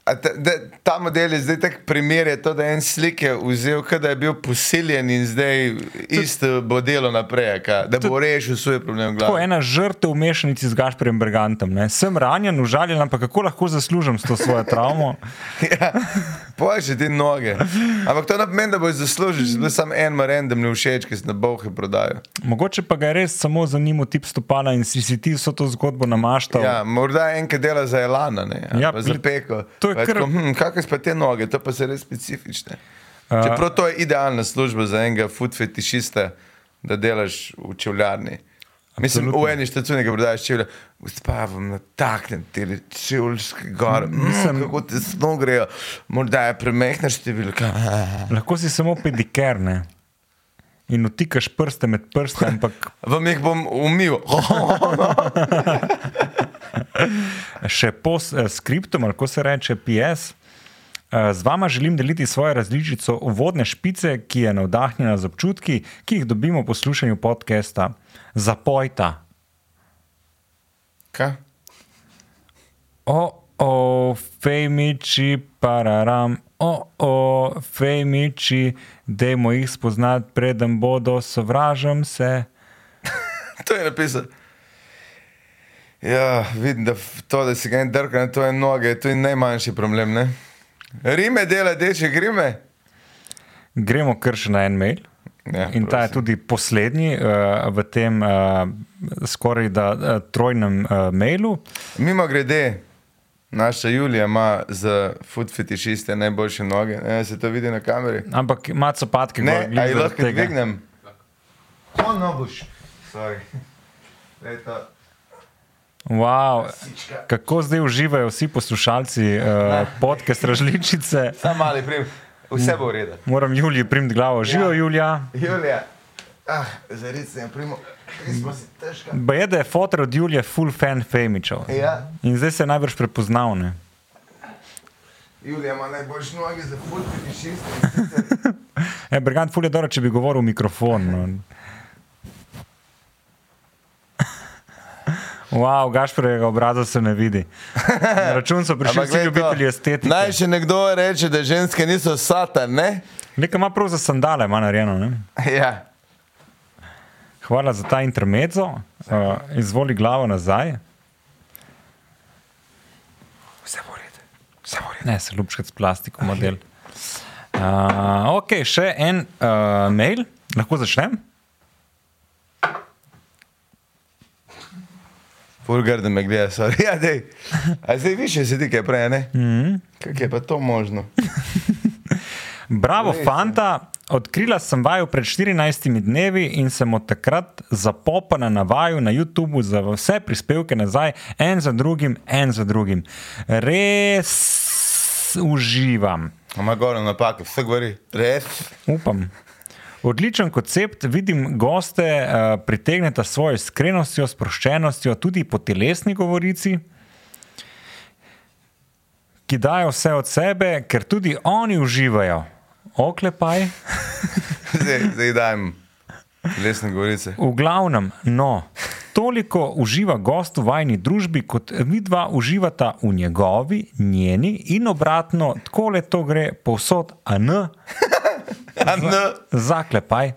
Speaker 1: a ta, da, ta model je zdaj tak primer, je to, da je en slik je vzel, kot da je bil posiljen in zdaj isto bo delo naprej, a ka, da bo rešil svoj problem.
Speaker 2: Tako
Speaker 1: Glave.
Speaker 2: ena žrtev v mešanici z Gašporjem Bergantom. Ne? Sem ranjen, užaljen, ampak kako lahko zaslužim s to svojo travmo?
Speaker 1: Ja, Pojdi ti noge. Ampak to ne pomeni, da boš zaslužil, če bi samo en random ne všeč, ki si na bohe prodajal.
Speaker 2: Mogoče pa ga je res samo zanimal tip stopala in si si ti vso to zgodbo namaštal.
Speaker 1: Ja, morda en, ki dela za Elana, ne,
Speaker 2: Ja,
Speaker 1: ja, za
Speaker 2: gled,
Speaker 1: peko.
Speaker 2: to je
Speaker 1: Pa
Speaker 2: kar-
Speaker 1: tako, Hm, Kakšne so pa te noge, to pa so res specifične. Čeprav to je idealna služba za enega futfetišista, da delaš v čevljarni. Mislim,
Speaker 2: Absolutno.
Speaker 1: v eni štacuni, ki prodajaš čevlje, uspavam na taknem teli čevljski gor, mm, kako ti sno grejo, morda je premehna številka.
Speaker 2: Lahko si samo pedikerne in utikaš prste med prste, ampak
Speaker 1: Vam jih bom umil.
Speaker 2: še pos eh, skriptom, ali kako se reče, PS. Eh, Z vama želim deliti svojo različico uvodne špice, ki je navdahnjena z občutki, ki jih dobimo po poslušanju podcasta. Zapojta.
Speaker 1: Kaj?
Speaker 2: O, o, fejmiči, pararam, o, o, fejmiči, dajmo jih spoznati, preden bodo sovražam se.
Speaker 1: To je napisal. Ja, vidim, da f- to, da si ga en drka na tvoje noge, to je najmanjši problem. Ne? Rime dela, deče grime.
Speaker 2: Gremo kar še na en mail.
Speaker 1: Ja,
Speaker 2: In ta je tudi poslednji uh, v tem uh, skoraj da uh, trojnem uh, mailu.
Speaker 1: Mimo grede, naša Julija ima za food fetišiste najboljše noge. Ne, se to vidi na kameri.
Speaker 2: Ampak ima copatke,
Speaker 1: Ne,
Speaker 2: glih
Speaker 1: ali
Speaker 2: zaradi
Speaker 1: lahko
Speaker 2: tega.
Speaker 1: dvignem? To no boš. Sorry. Glej, to-
Speaker 2: Wow.
Speaker 1: Sička.
Speaker 2: Kako zdaj uživajo vsi poslušalci uh, podcast različice?
Speaker 1: Samo mali prim, vse bo v redu.
Speaker 2: Moram Juliji primiti glavo. Živijo,
Speaker 1: Ja.
Speaker 2: Julija.
Speaker 1: Julija, ah, zarice je primo, res smo si težka.
Speaker 2: Baje, da je fotor od Julije full fan femičev.
Speaker 1: Ja.
Speaker 2: In zdaj se je najbrž prepoznal. Ne?
Speaker 1: Julija ima najboljše noge za food fetišiste.
Speaker 2: E, Brigant, full je dobro, če bi govoril v mikrofon. No. Wow, Gašporjega obraza se ne vidi. Na račun so prišli
Speaker 1: Ampak
Speaker 2: vsi
Speaker 1: glej to,
Speaker 2: ljubitelji estetike.
Speaker 1: Naj še nekdo reče, da ženske niso satan, ne?
Speaker 2: Nekaj ima prav za sandale, ima narejeno. Ne?
Speaker 1: Ja.
Speaker 2: Hvala za ta intermezzo. Uh, izvoli glavo nazaj.
Speaker 1: Vse bo red, vse bo red.
Speaker 2: Ne, se ljubčkati s plastikom model. Uh, ok, še en uh, mail, lahko začnem.
Speaker 1: Fulgar, da me gleda, sorry. Ja, dej. A zdaj više sedi, kaj prej, ne? Mm
Speaker 2: Mhm.
Speaker 1: -hmm. Kako je pa to možno?
Speaker 2: Bravo,
Speaker 1: Res je.
Speaker 2: fanta. Odkrila sem vaju pred 14 dnevi in sem od takrat zapopana na vaju na YouTubu za vse prispevke nazaj, en za drugim, en za drugim. Res uživam.
Speaker 1: Ama gor napaka, vse govori. Res?
Speaker 2: Upam. Odličen koncept, vidim, goste uh, pritegnete s svojo iskrenostjo, sproščenostjo, tudi po telesni govorici, ki dajo vse od sebe, ker tudi oni uživajo. Oklepaj.
Speaker 1: Zdaj, zdaj dajem lesne govorice.
Speaker 2: V glavnem, no, toliko uživa gost v vajni družbi, kot vidva uživata v njegovi, njeni in obratno, tako le to gre povsod, a ne,
Speaker 1: A, no.
Speaker 2: zaklepaj.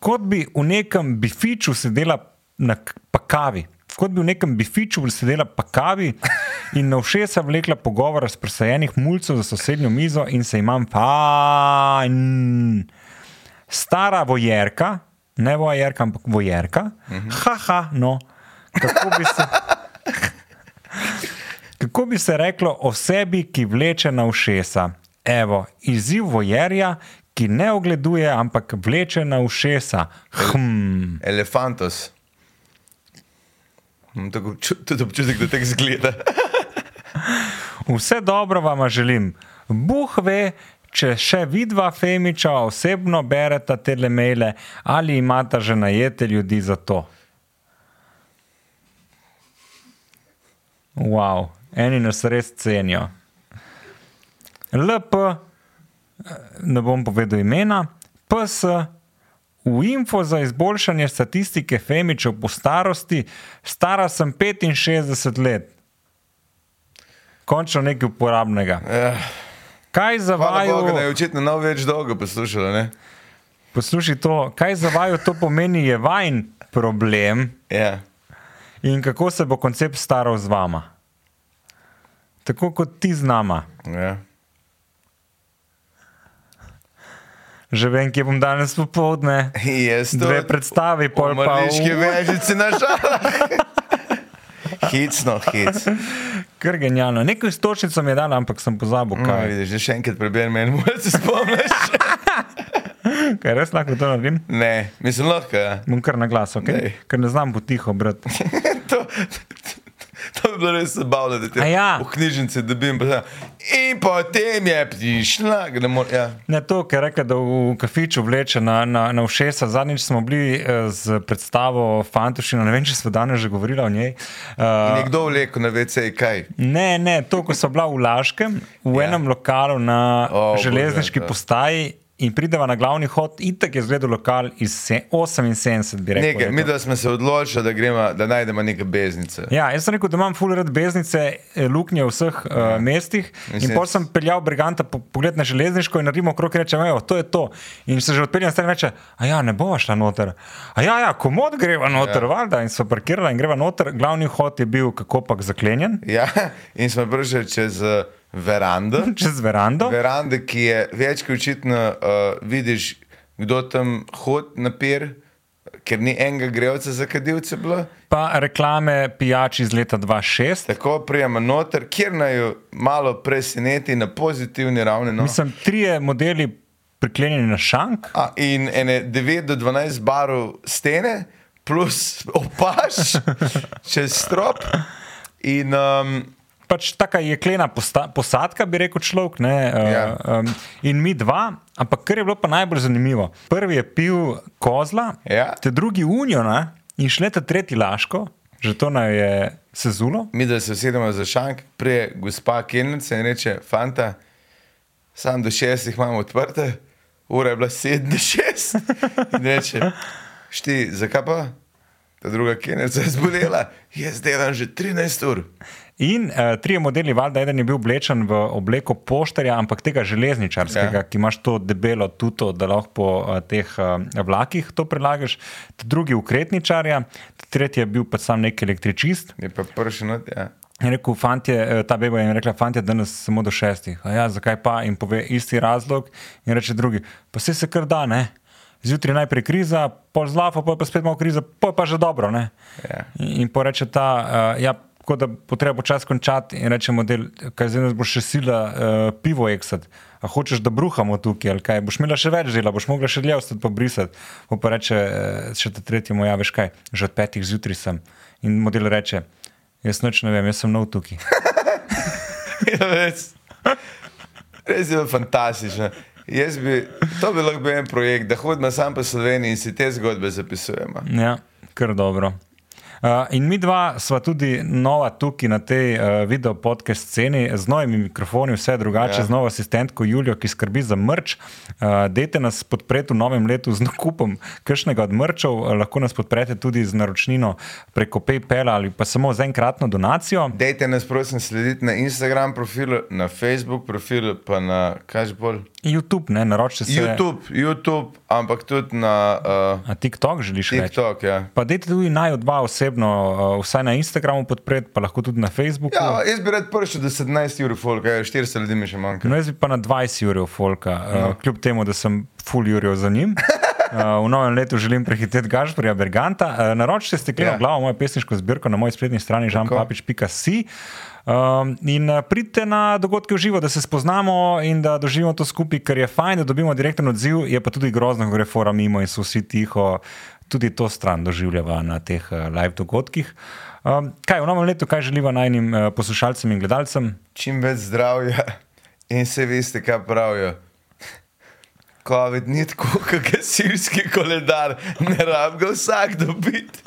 Speaker 2: kot bi v nekem bifiču sedela na k- pa kavi. Kot bi v nekem bifiču sedela pa kavi in na všesa vlekla pogovor razprsajenih mulcev za sosednjo mizo in se imam fajn. Stara vojerka, ne vojerka, ampak vojerka, mhm. haha, no, kako bi se. Kako bi se reklo o sebi, ki vleče na ušesa? Evo, izziv vojerja, ki ne ogleduje, ampak vleče na ušesa. Hm,
Speaker 1: Elefantos. Imam tako obču- tudi občutek, da tako zgleda.
Speaker 2: vse dobro vam želim. Bog ve, če še vidva Femiča osebno bereta telemele ali imata že najete ljudi za to. Wow, eni nas res cenijo. LP, eh, ne bom povedal imena, PS. V info za izboljšanje statistike Femičev po starosti, stara sem 65 let. Končno nekaj uporabnega.
Speaker 1: Ja.
Speaker 2: Kaj za
Speaker 1: Hvala
Speaker 2: vaju,
Speaker 1: Bogu, da je očitno nov več dolgo poslušala. Ne?
Speaker 2: poslušaj to, kaj za vaju to pomeni, je vajen problem
Speaker 1: Ja.
Speaker 2: in kako se bo koncept staral z vama. Tako kot ti z nama.
Speaker 1: Ja.
Speaker 2: Že vem, kje bom danes popovdne.
Speaker 1: Jaz to
Speaker 2: Dve predstavi, pol pa
Speaker 1: Mrliške
Speaker 2: v-
Speaker 1: vežice na no, žalah. Hicno, hic.
Speaker 2: Kar genialno. Neko istočnico mi je dala, ampak sem pozabil,
Speaker 1: Kaj
Speaker 2: kaj je.
Speaker 1: No, vidiš, že še enkrat preberem, meni mora se spomniš.
Speaker 2: Kaj res lahko to naredim?
Speaker 1: Ne, mislim lahko. Ja.
Speaker 2: Bom kar na glas, okay?
Speaker 1: Daj.
Speaker 2: ker ne znam potiho, brat.
Speaker 1: to, to bi bilo res zabavno, da te
Speaker 2: A ja.
Speaker 1: v knjižnici dobim. Pa, tako, in potem je prišla, da mora. Ja.
Speaker 2: Ne to, ker reka, da v kafiču vleče na, na, na všesa. Zadnjič smo bili eh, z predstavo Fantušina, ne vem, če smo danes že govorili o njej.
Speaker 1: In
Speaker 2: Uh,
Speaker 1: Nekdo vleko na VC, kaj.
Speaker 2: ne, ne, to, ko so bila v Laškem, v
Speaker 1: Ja.
Speaker 2: ja. enem lokalu na
Speaker 1: O,
Speaker 2: oh,
Speaker 1: bože, ja.
Speaker 2: železniški
Speaker 1: da.
Speaker 2: bože, postaji. In prideva na glavni hod, itek je zgledal lokal iz se- 78, bi rekel.
Speaker 1: Nekaj,
Speaker 2: je to.
Speaker 1: mi da smo se odločili, da, gremo, da najdemo neke beznice.
Speaker 2: Ja, jaz sem rekel, da imam full red beznice, eh, luknje v vseh ja. uh, mestih.
Speaker 1: Mislim,
Speaker 2: In pol sem peljal Briganta po, pogled na železniško in naredimo krok in rečem, evo, to je to. In se že odpeljem stran in reče, a ja, ne bova šla noter. A ja, ja, komod greva noter, ja. valjda. In so parkirala in greva noter. Glavni hod je bil kakopak zaklenjen
Speaker 1: Ja. In smo prišli čez eh, verando.
Speaker 2: čez verando.
Speaker 1: verande, ki je več kot očitno, uh, vidiš, kdo tam hod na pier, ker ni enega grevca za kadilce bilo.
Speaker 2: Pa reklame pijač iz leta 2006.
Speaker 1: Tako prijema noter, kjer naj jo malo preseneti na pozitivni ravni. No.
Speaker 2: Mislim, trije modeli priklenjeni na šank.
Speaker 1: A, in ene 9 do 12 barov stene, plus opaš čez strop. In um,
Speaker 2: pač taka jeklena posta, posadka, bi rekel človek. Ne,
Speaker 1: Ja.
Speaker 2: uh, um, in mi dva, ampak kar je bilo pa najbolj zanimivo. Prvi je pil kozla,
Speaker 1: Ja.
Speaker 2: te drugi uniona in šle te tretji laško, že to naj je sezulo.
Speaker 1: mi, da se usedemo za šank, prije gospa Kenjica in reče: Fanta, sam do šestih imamo odprte, ura je bila sedem do šest. In reče: Šti, zakaj pa? Ta druga Kenjica je zbolela, jaz delam že 13 ur.
Speaker 2: In uh, trije modeli, valjda, eden je bil oblečen v obleko poštarja, ampak tega železničarskega,
Speaker 1: Ja.
Speaker 2: ja. ki imaš to debelo tuto, da lahko po uh, teh uh, vlakih to prelagaš, Ta drugi ukretničarja, tretji je bil pa sam nek električist.
Speaker 1: Je pa prši not, ja.
Speaker 2: Je rekel, fantje, eh, ta beba je rekla, fantje, danes samo do šestih. A ja, zakaj pa? In pove isti razlog. In reče drugi, pa se se kar da, ne. Zjutraj najprej kriza, pol zlafa, pol pa spet malo kriza, pol pa že dobro, ne.
Speaker 1: Ja.
Speaker 2: In, in pa reče ta, uh, ja, tako da bo treba počasi končati. In reče model, kaj zdaj nas bo še sila uh, pivo eksat. A hočeš, da bruhamo tukaj, ali kaj? Boš imela še več dela, boš mogla še dlje ostati pobrisati. Pa, pa reče, eh, še ta tretji, moja, veš kaj, že od petih zjutraj sem. In model reče, jaz noč ne vem, jaz sem nov tukaj.
Speaker 1: Ja, res, res je bilo fantastično. Jaz bi, to bi lahko bil en projekt, da hodimo sam po Sloveniji in si te zgodbe zapisujemo.
Speaker 2: Ja, kar dobro. Uh, in mi dva sva tudi nova tukaj na tej uh, video podcast sceni, z novimi mikrofoni, vse drugače,
Speaker 1: Ja.
Speaker 2: ja. z novo asistentko Julijo, ki skrbi za mrč. Uh, dejte nas podpreti v novem letu z nakupom kakšnega od mrčev, eh, lahko nas podprete tudi z naročnino preko PayPala ali pa samo z enkratno donacijo.
Speaker 1: Dajte nas, prosim, slediti na Instagram profilu, na Facebook profilu, pa na kaj že bolj.
Speaker 2: YouTube, ne naročite se.
Speaker 1: YouTube, YouTube, ampak tudi na uh,
Speaker 2: A TikTok želiš reči?
Speaker 1: TikTok. Ja.
Speaker 2: Pa dajte tudi naj dva osebno, uh, vsaj na Instagramu podpreti, pa lahko tudi na Facebooku.
Speaker 1: Ja, jaz bi rad prišel do 17 ur, folk, 400 ljudi mi še manjka.
Speaker 2: No, jaz bi pa na 20 ur folka, no. uh, kljub temu, da sem full ur za njim. Uh, v novem letu želim prehiteti Gašporja Berganta. Uh, naročite
Speaker 1: Ja.
Speaker 2: stekleno yeah. glavo, mojo pesniško zbirko na moji spletni strani žanpapič.si. Um, in uh, pridite na dogodke v živo, da se spoznamo in da doživimo to skupaj, ker je fajn, da dobimo direkten odziv, je pa tudi grozno, ko gre fora mimo in so vsi tiho. Tudi to stran doživljava na teh uh, live dogodkih. Um, kaj v novem letu, kaj želiva najnim uh, poslušalcem in gledalcem?
Speaker 1: Čim več zdravja in se veste, kaj pravijo. COVID ni tako, kot gasilski koledar, ne rab ga vsak dobiti.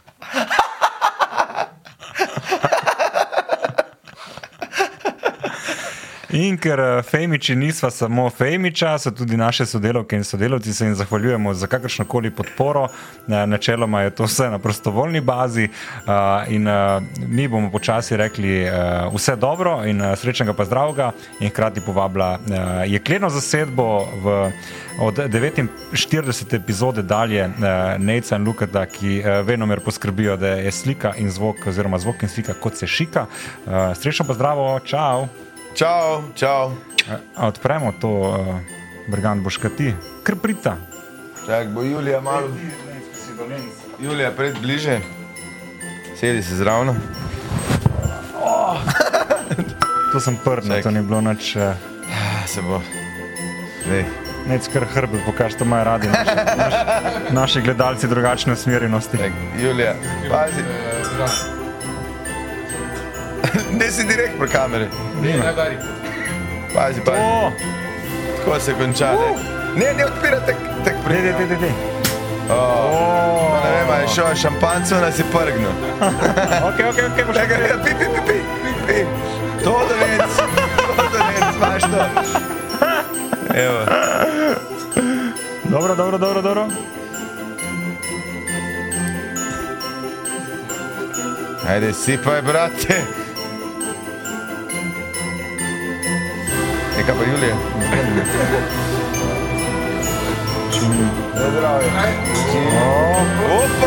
Speaker 2: In ker eh, Femiči nismo samo Femiča, so tudi naše sodelavke in sodelavci, se jim zahvaljujemo za kakršno koli podporo. Eh, Načeloma je to vse na prostovoljni bazi eh, in eh, mi bomo počasi rekli eh, vse dobro in eh, srečnega pa zdravega in hkrati povabila eh, jekleno zasedbo v, od 49 epizode dalje eh, Neca in Lukata, ki eh, venomer poskrbijo, da je slika in zvok, oziroma zvok in slika kot se šika. Eh, Srečno pa zdravo, čau!
Speaker 1: Čau, čau,
Speaker 2: A- E, a Odpremo to, uh, Brigant boš kaj ti, kar prita.
Speaker 1: čak bo Julija malo. Julija, pred bliže, sedi se zraven.
Speaker 2: To sem prnil,
Speaker 1: Čakaj.
Speaker 2: to ni bilo nič, eh,
Speaker 1: Ja, se bo. Lej.
Speaker 2: nič kar hrbet, pokaž to imajo radi. Naši, naš, naši gledalci drugačne usmerjenosti.
Speaker 1: Tak, Julija, pazi. Ne si direkt pri kameri. Pazi, pazi.
Speaker 2: O,
Speaker 1: Tako se konča. Ne, ne, ne odpirate tako
Speaker 2: de, de,
Speaker 1: prej.
Speaker 2: de, de, de.
Speaker 1: Pa Ne vem, a je šel šampanco, nas je prgnil.
Speaker 2: Ok, ok, ok, boš
Speaker 1: Čakaj, pi, pi, pi, pi, pi. To da vec, to da vec, imaš to. Evo,
Speaker 2: Dobro, dobro, dobro, dobro.
Speaker 1: ajde, sipaj, brate. Neka E, pa Julija. Zdravje. Opa!